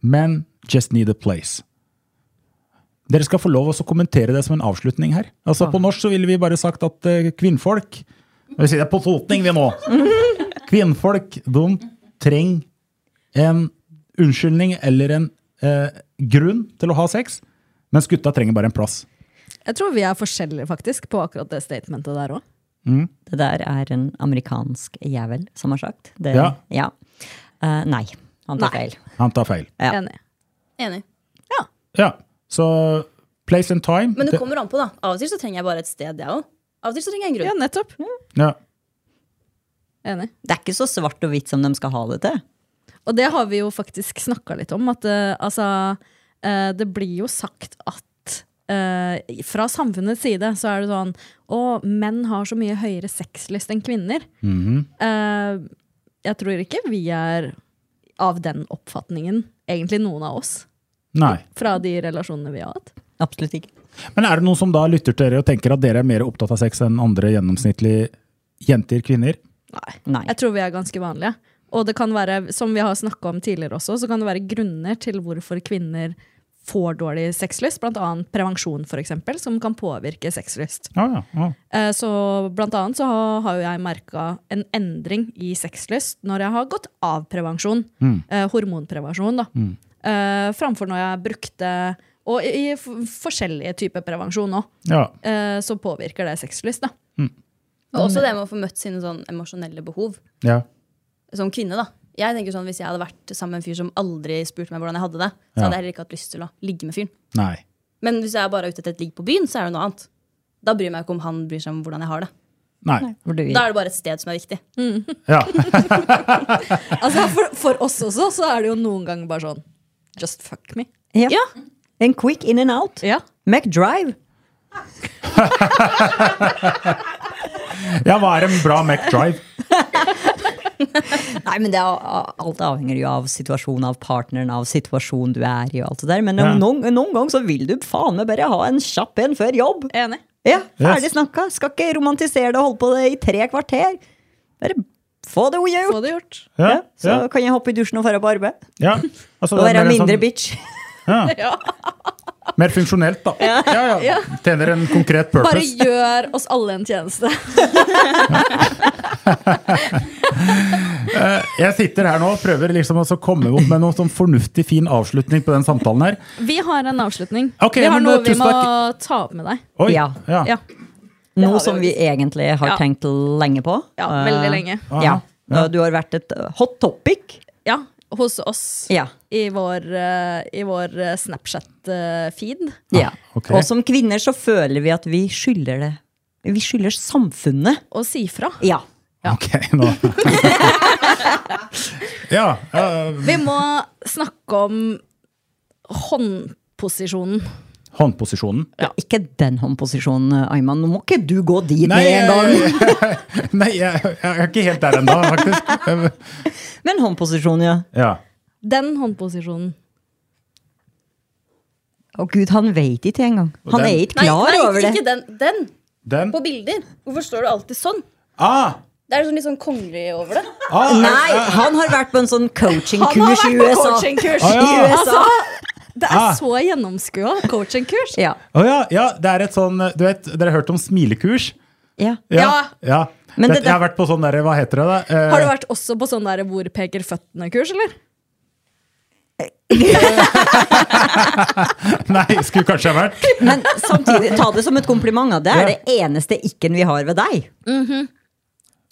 Men just need a place. Dere skal få lov også å kommentere det som en avslutning her. Altså På norsk så ville vi bare sagt at eh, kvinnfolk Vi sier det er på totning, vi nå. Kvinnfolk de trenger en unnskyldning eller en eh, grunn til å ha sex, mens gutta trenger bare en plass.
Jeg tror vi er forskjellige faktisk på akkurat det statementet der òg.
Det der er en amerikansk jævel som har sagt. Det,
Ja.
Eh, nei, han tar
Nei.
feil.
Han tar feil.
Ja.
Enig.
Enig.
Ja, Så place and time.
Men det
det-
kommer an på, da. Av og til så trenger jeg bare et sted, jeg òg. Av og til så trenger jeg en
Ja,
grunn.
nettopp.
ja.
Enig.
Det er ikke så svart og hvitt som de skal ha det til.
Og det har vi jo faktisk snakka litt om. At eh, altså eh, Det blir jo sagt at eh, fra samfunnets side så er det sånn Å, menn har så mye høyere sexlyst enn kvinner. Eh, jeg tror ikke vi er av den oppfatningen, egentlig noen av oss.
Nei.
Fra de relasjonene vi har hatt.
Absolutt ikke.
Men er det noen som da lytter til dere og tenker at dere er mer opptatt av sex enn andre gjennomsnittlige jenter, kvinner?
Nei.
Nei.
Jeg tror vi er ganske vanlige. Og det kan være, som vi har snakka om tidligere også, så kan det være grunner til hvorfor kvinner får dårlig sexlyst, bl.a. prevensjon, for eksempel, som kan påvirke sexlyst.
Ja, ja, ja.
Eh, Så blant annet så har- har jo jeg merka en endring i sexlyst når jeg har gått av prevensjon. Eh, hormonprevensjon, da. Eh, framfor når jeg brukte Og i, i f- forskjellige typer prevensjon òg.
ja.
Eh, så påvirker det sexlyst, da.
Og også det med å få møtt sine sånn emosjonelle behov.
ja.
Som kvinne, da. Jeg tenker sånn, Hvis jeg hadde vært sammen med en fyr som aldri spurte meg hvordan jeg hadde det, så
Ja.
hadde jeg heller ikke hatt lyst til å ligge med fyren.
Nei.
Men hvis jeg bare er ute etter et ligg på byen, så er det noe annet. Da bryr jeg meg ikke om han bryr seg om hvordan jeg har det.
Nei.
Hvor du,
Da er det bare et sted som er viktig.
Ja.
Altså, for, for oss også så er det jo noen ganger bare sånn Just fuck me.
ja.
Ja.
En quick in and out.
Ja.
McDrive.
ja, hva er en bra McDrive?
Nei, men det er, Alt avhenger jo av situasjonen, av partneren, av situasjonen du er i. og alt det der. Men
Ja.
noen, noen ganger så vil du faen meg bare ha en kjapp en før jobb.
Enig.
Ja,
Yes.
Ferdig snakka. Skal ikke romantisere det og holde på det i tre kvarter. Bare få det
Få
gjort.
det gjort.
Ja,
Ja, så
ja,
kan jeg hoppe i dusjen og dra på arbeid.
ja. Altså,
Og
det
være
er mer en
mindre
sånn- [laughs]
bitch.
Mer funksjonelt, da. Ja, ja. Tjener en konkret
Bare
purpose.
gjør oss alle en tjeneste.
Eh, Jeg sitter her nå og prøver liksom også å komme opp med noen sånn fornuftig, fin avslutning på den samtalen her.
Vi har en avslutning.
Ok,
vi har
men,
noe
eh,
vi
tusen
må
takk.
ta opp med deg.
Oi,
Ja.
Ja,
Noe som vi egentlig har
Ja.
tenkt lenge på.
ja
Eh,
veldig lenge.
Ja. Og Du har vært et eh, hot topic.
Ja, hos oss.
Ja.
I vår, eh, i vår eh, Snapchat-feed.
ja.
Ah, ok.
Og som kvinner så føler vi at vi skylder det. Vi skylder samfunnet.
Og si fra.
Ja.
Ok, nå Ja. eh,
Vi må snakke om håndposisjonen.
håndposisjonen.
Ikke den håndposisjonen, Ayman. Nå må ikke du gå dit
Nei,
med en gang.
jeg, [laughs] nei jeg, jeg er ikke helt der ennå, faktisk.
Men håndposisjonen, ja.
Ja.
Den håndposisjonen.
Å gud, han veit ikke engang. Han
den-
er ikke klar
nei,
over det.
ikke den, den
Den.
på bilder. Hvorfor står du alltid sånn?
Ah,
Det er sånn litt sånn kongelig over det.
ah,
Nei, han har vært på en sånn
Han har
coaching-kurs i
vært på
USA.
coaching-kurs!
Ah, ja.
I USA.
Altså, Det er
Ah.
så gjennomskua coaching-kurs.
Ja.
Å ja, ja, det er et sånn Du vet, dere har hørt om smilekurs?
ja.
Ja.
ja.
Men
Dette-
det- det-
jeg har vært på sånn derre Hva heter det, da? Eh,
Har du vært også på sånn der hvor peker føttene-kurs, eller?
[laughs] Nei, skulle kanskje ha vært.
Men samtidig, ta det som et kompliment. da. Det er det eneste ikke-en vi har ved deg.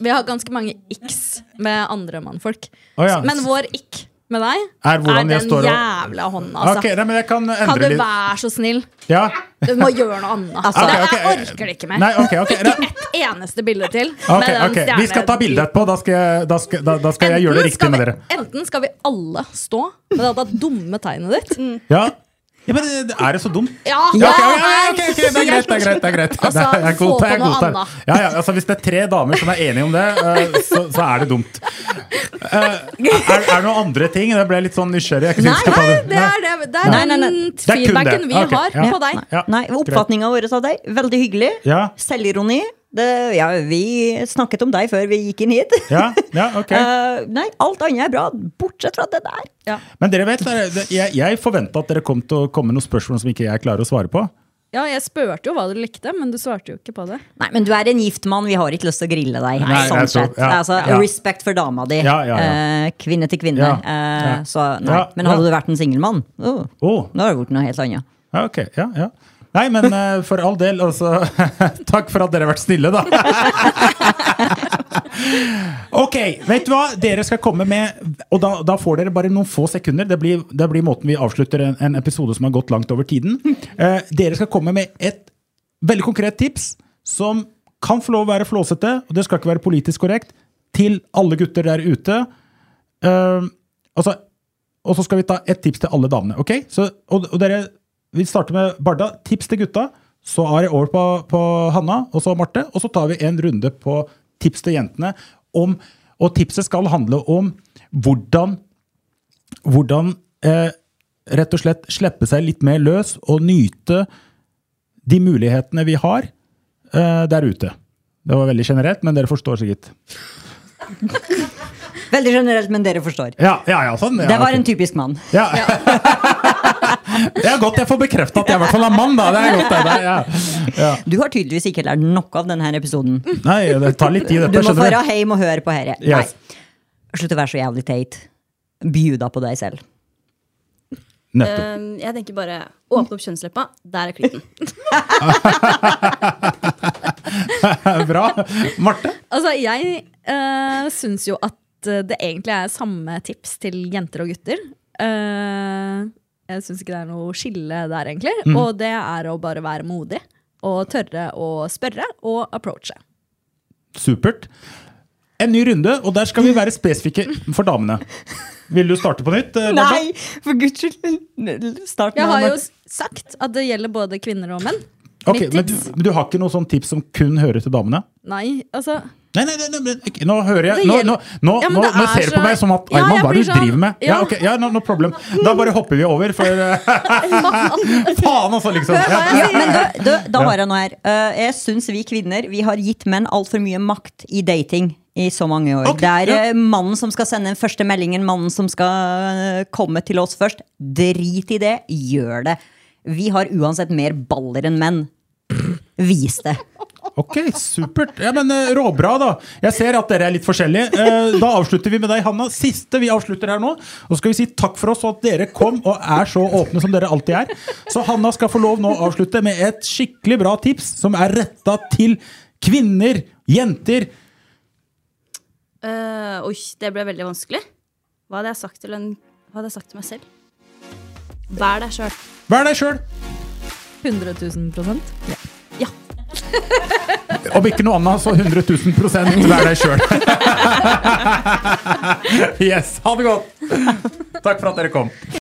Vi har ganske mange x med andre mannfolk.
Å ja.
Men vår ikk med deg
Er
er,
hvordan
den
jeg står og-
jævla hånda, altså.
Ok, nei, men jeg kan
Kan
endre
du
litt.
være så snill?
Ja.
Du må gjøre noe annet.
[laughs] Ok,
det,
ok,
jeg orker det ikke mer.
Nei, ok, ok.
[laughs]
Nei.
Et eneste bilde til. med
Ok,
den
ok, Vi skal ta bilde etterpå. Da skal jeg, da skal, da, da skal jeg gjøre det
Enten
riktig
skal
med
vi-
dere.
Enten skal vi alle stå med dette dumme tegnet ditt.
Ja, ja men det- det- Er det så dumt?
Ja,
Ja, ok, ok, ok, ok, ok, det er greit. det er greit, det er greit
[laughs] Altså,
Det er- jeg
få
godtar, jeg
på noe
godtar.
annet.
Ja, ja, altså, Hvis det er tre damer som er enige om det, eh, så, så er det dumt. Eh, Er, er det noen andre ting? Det ble litt sånn nysgjerrig. Jeg er ikke sikker skal ta
Nei,
det.
det er, det, det er
Nei, nei, nei.
den
er kun
feedbacken
det.
vi
Ok,
har
ja.
på deg.
Ja,
Nei, Oppfatninga vår av deg, veldig hyggelig.
Ja.
Selvironi. Det, ja, vi snakket om deg før vi gikk inn hit.
Ja, ja,
[laughs]
ok.
Eh, nei, alt annet er bra, bortsett fra det der.
Men dere vet, dere- det- jeg, jeg forventa at dere kom til å komme med noen spørsmål som ikke jeg klarer å svare på.
Ja, jeg spurte jo hva du likte, men du svarte jo ikke på det.
Nei, men du er en gift mann, vi har ikke lyst til å grille deg.
Nei,
sånn
jeg tror-
sett.
ja,
altså,
ja.
Respekt for dama di.
Ja, ja, ja.
Eh, kvinne til kvinne.
Ja,
Eh,
ja.
Så nei.
Ja,
Men hadde
ja.
du vært en singelmann, oh,
Oh,
nå hadde det vært noe helt annet.
ja, ok, ja, ja. Nei, men eh, for all del, altså [laughs] Takk for at dere har vært snille, da. [laughs] ok, vet du hva? Dere skal komme med Og da, da får dere bare noen få sekunder. Det blir, det blir måten vi avslutter en, en episode som har gått langt over tiden. Eh, dere skal komme med et veldig konkret tips som kan få lov å være flåsete, og det skal ikke være politisk korrekt, til alle gutter der ute. Eh, altså, og så skal vi ta et tips til alle damene. ok? Så, og, og dere, Vi starter med Barda. Tips til gutta. Så er det over på, på Hanna og så Marte. Og så tar vi en runde på tips til jentene. Om, og tipset skal handle om hvordan, hvordan eh, rett og slett slippe seg litt mer løs og nyte de mulighetene vi har eh, der ute. Det var veldig generelt, men dere forstår sikkert.
Veldig generelt, men dere forstår.
Ja, ja, ja, sånn. Ja,
det var
ok.
en typisk mann.
Ja. [laughs] det er godt jeg får bekrefta at jeg i hvert fall er mann, da. Det er godt, det. det er- ja. Ja.
Du har tydeligvis ikke lært noe av denne episoden.
Nei, det tar litt tid,
Du
dette.
må
skjønner
dra hjem og høre på herre.
Mm. Yes.
Nei, slutt å være så jævlig teit. Bjuda på deg selv.
Nettopp.
Um, jeg tenker bare åpne opp kjønnsleppa. Der er klitten.
Bra. Marte?
Eh.
[laughs]
Altså, jeg uh, syns jo at at eh, det egentlig er samme tips til jenter og gutter. Eh, jeg syns ikke det er noe skille der, egentlig. Og det er å bare være modig og tørre å spørre og approache.
Supert. En ny runde, og der skal vi være spesifikke for damene. Vil du starte på nytt? eh, Martha?
Nei, for guds skyld! Start nå.
Jeg har jo
Marte.
s- sagt at det gjelder både kvinner og menn.
Ok,
Mitt
men du,
tips-
men du har ikke noe sånn tips som kun hører til damene?
Nei, altså
Nei, nei, nei, nei, men ikke- nå hører jeg
Det
Nå,
gjelder-
nå, nå,
Ja, men
nå,
det
nå
er
ser du på
så-
meg som at
Ja,
Arman, hva
jeg
er det
blir
du
sånn-
driver med? Ja,
Ja.
ok, ja, no, no problem. Da bare hopper vi over, for eh, [laughs]
[laughs]
Faen, altså, liksom.
Hør
Ja.
hva jeg
Ja,
sier!
men da, da, da har jeg noe her. Eh, jeg syns vi kvinner vi har gitt menn altfor mye makt i dating i så mange år.
Ok,
det er
ja.
eh, mannen som skal sende den første meldingen, mannen som skal eh, komme til oss først. Drit i det, gjør det. Vi har uansett mer baller enn menn. Vis det.
Ok, supert. Ja, men eh, Råbra, da. Jeg ser at dere er litt forskjellige. Eh, Da avslutter vi med deg, Hanna. Siste vi avslutter her nå. Og så skal vi si takk for oss og at dere kom og er så åpne som dere alltid er. Så Hanna skal få lov nå å avslutte med et skikkelig bra tips som er retta til kvinner, jenter
Eh, oi, det ble veldig vanskelig. Hva hadde jeg sagt til, en, hva hadde jeg sagt til meg selv? Vær deg sjøl.
Vær deg sjøl!
100 000 prosent.
Om ikke noe annet, så 100 000 vær deg [laughs] sjøl. Yes. Ha det godt. Takk for at dere kom.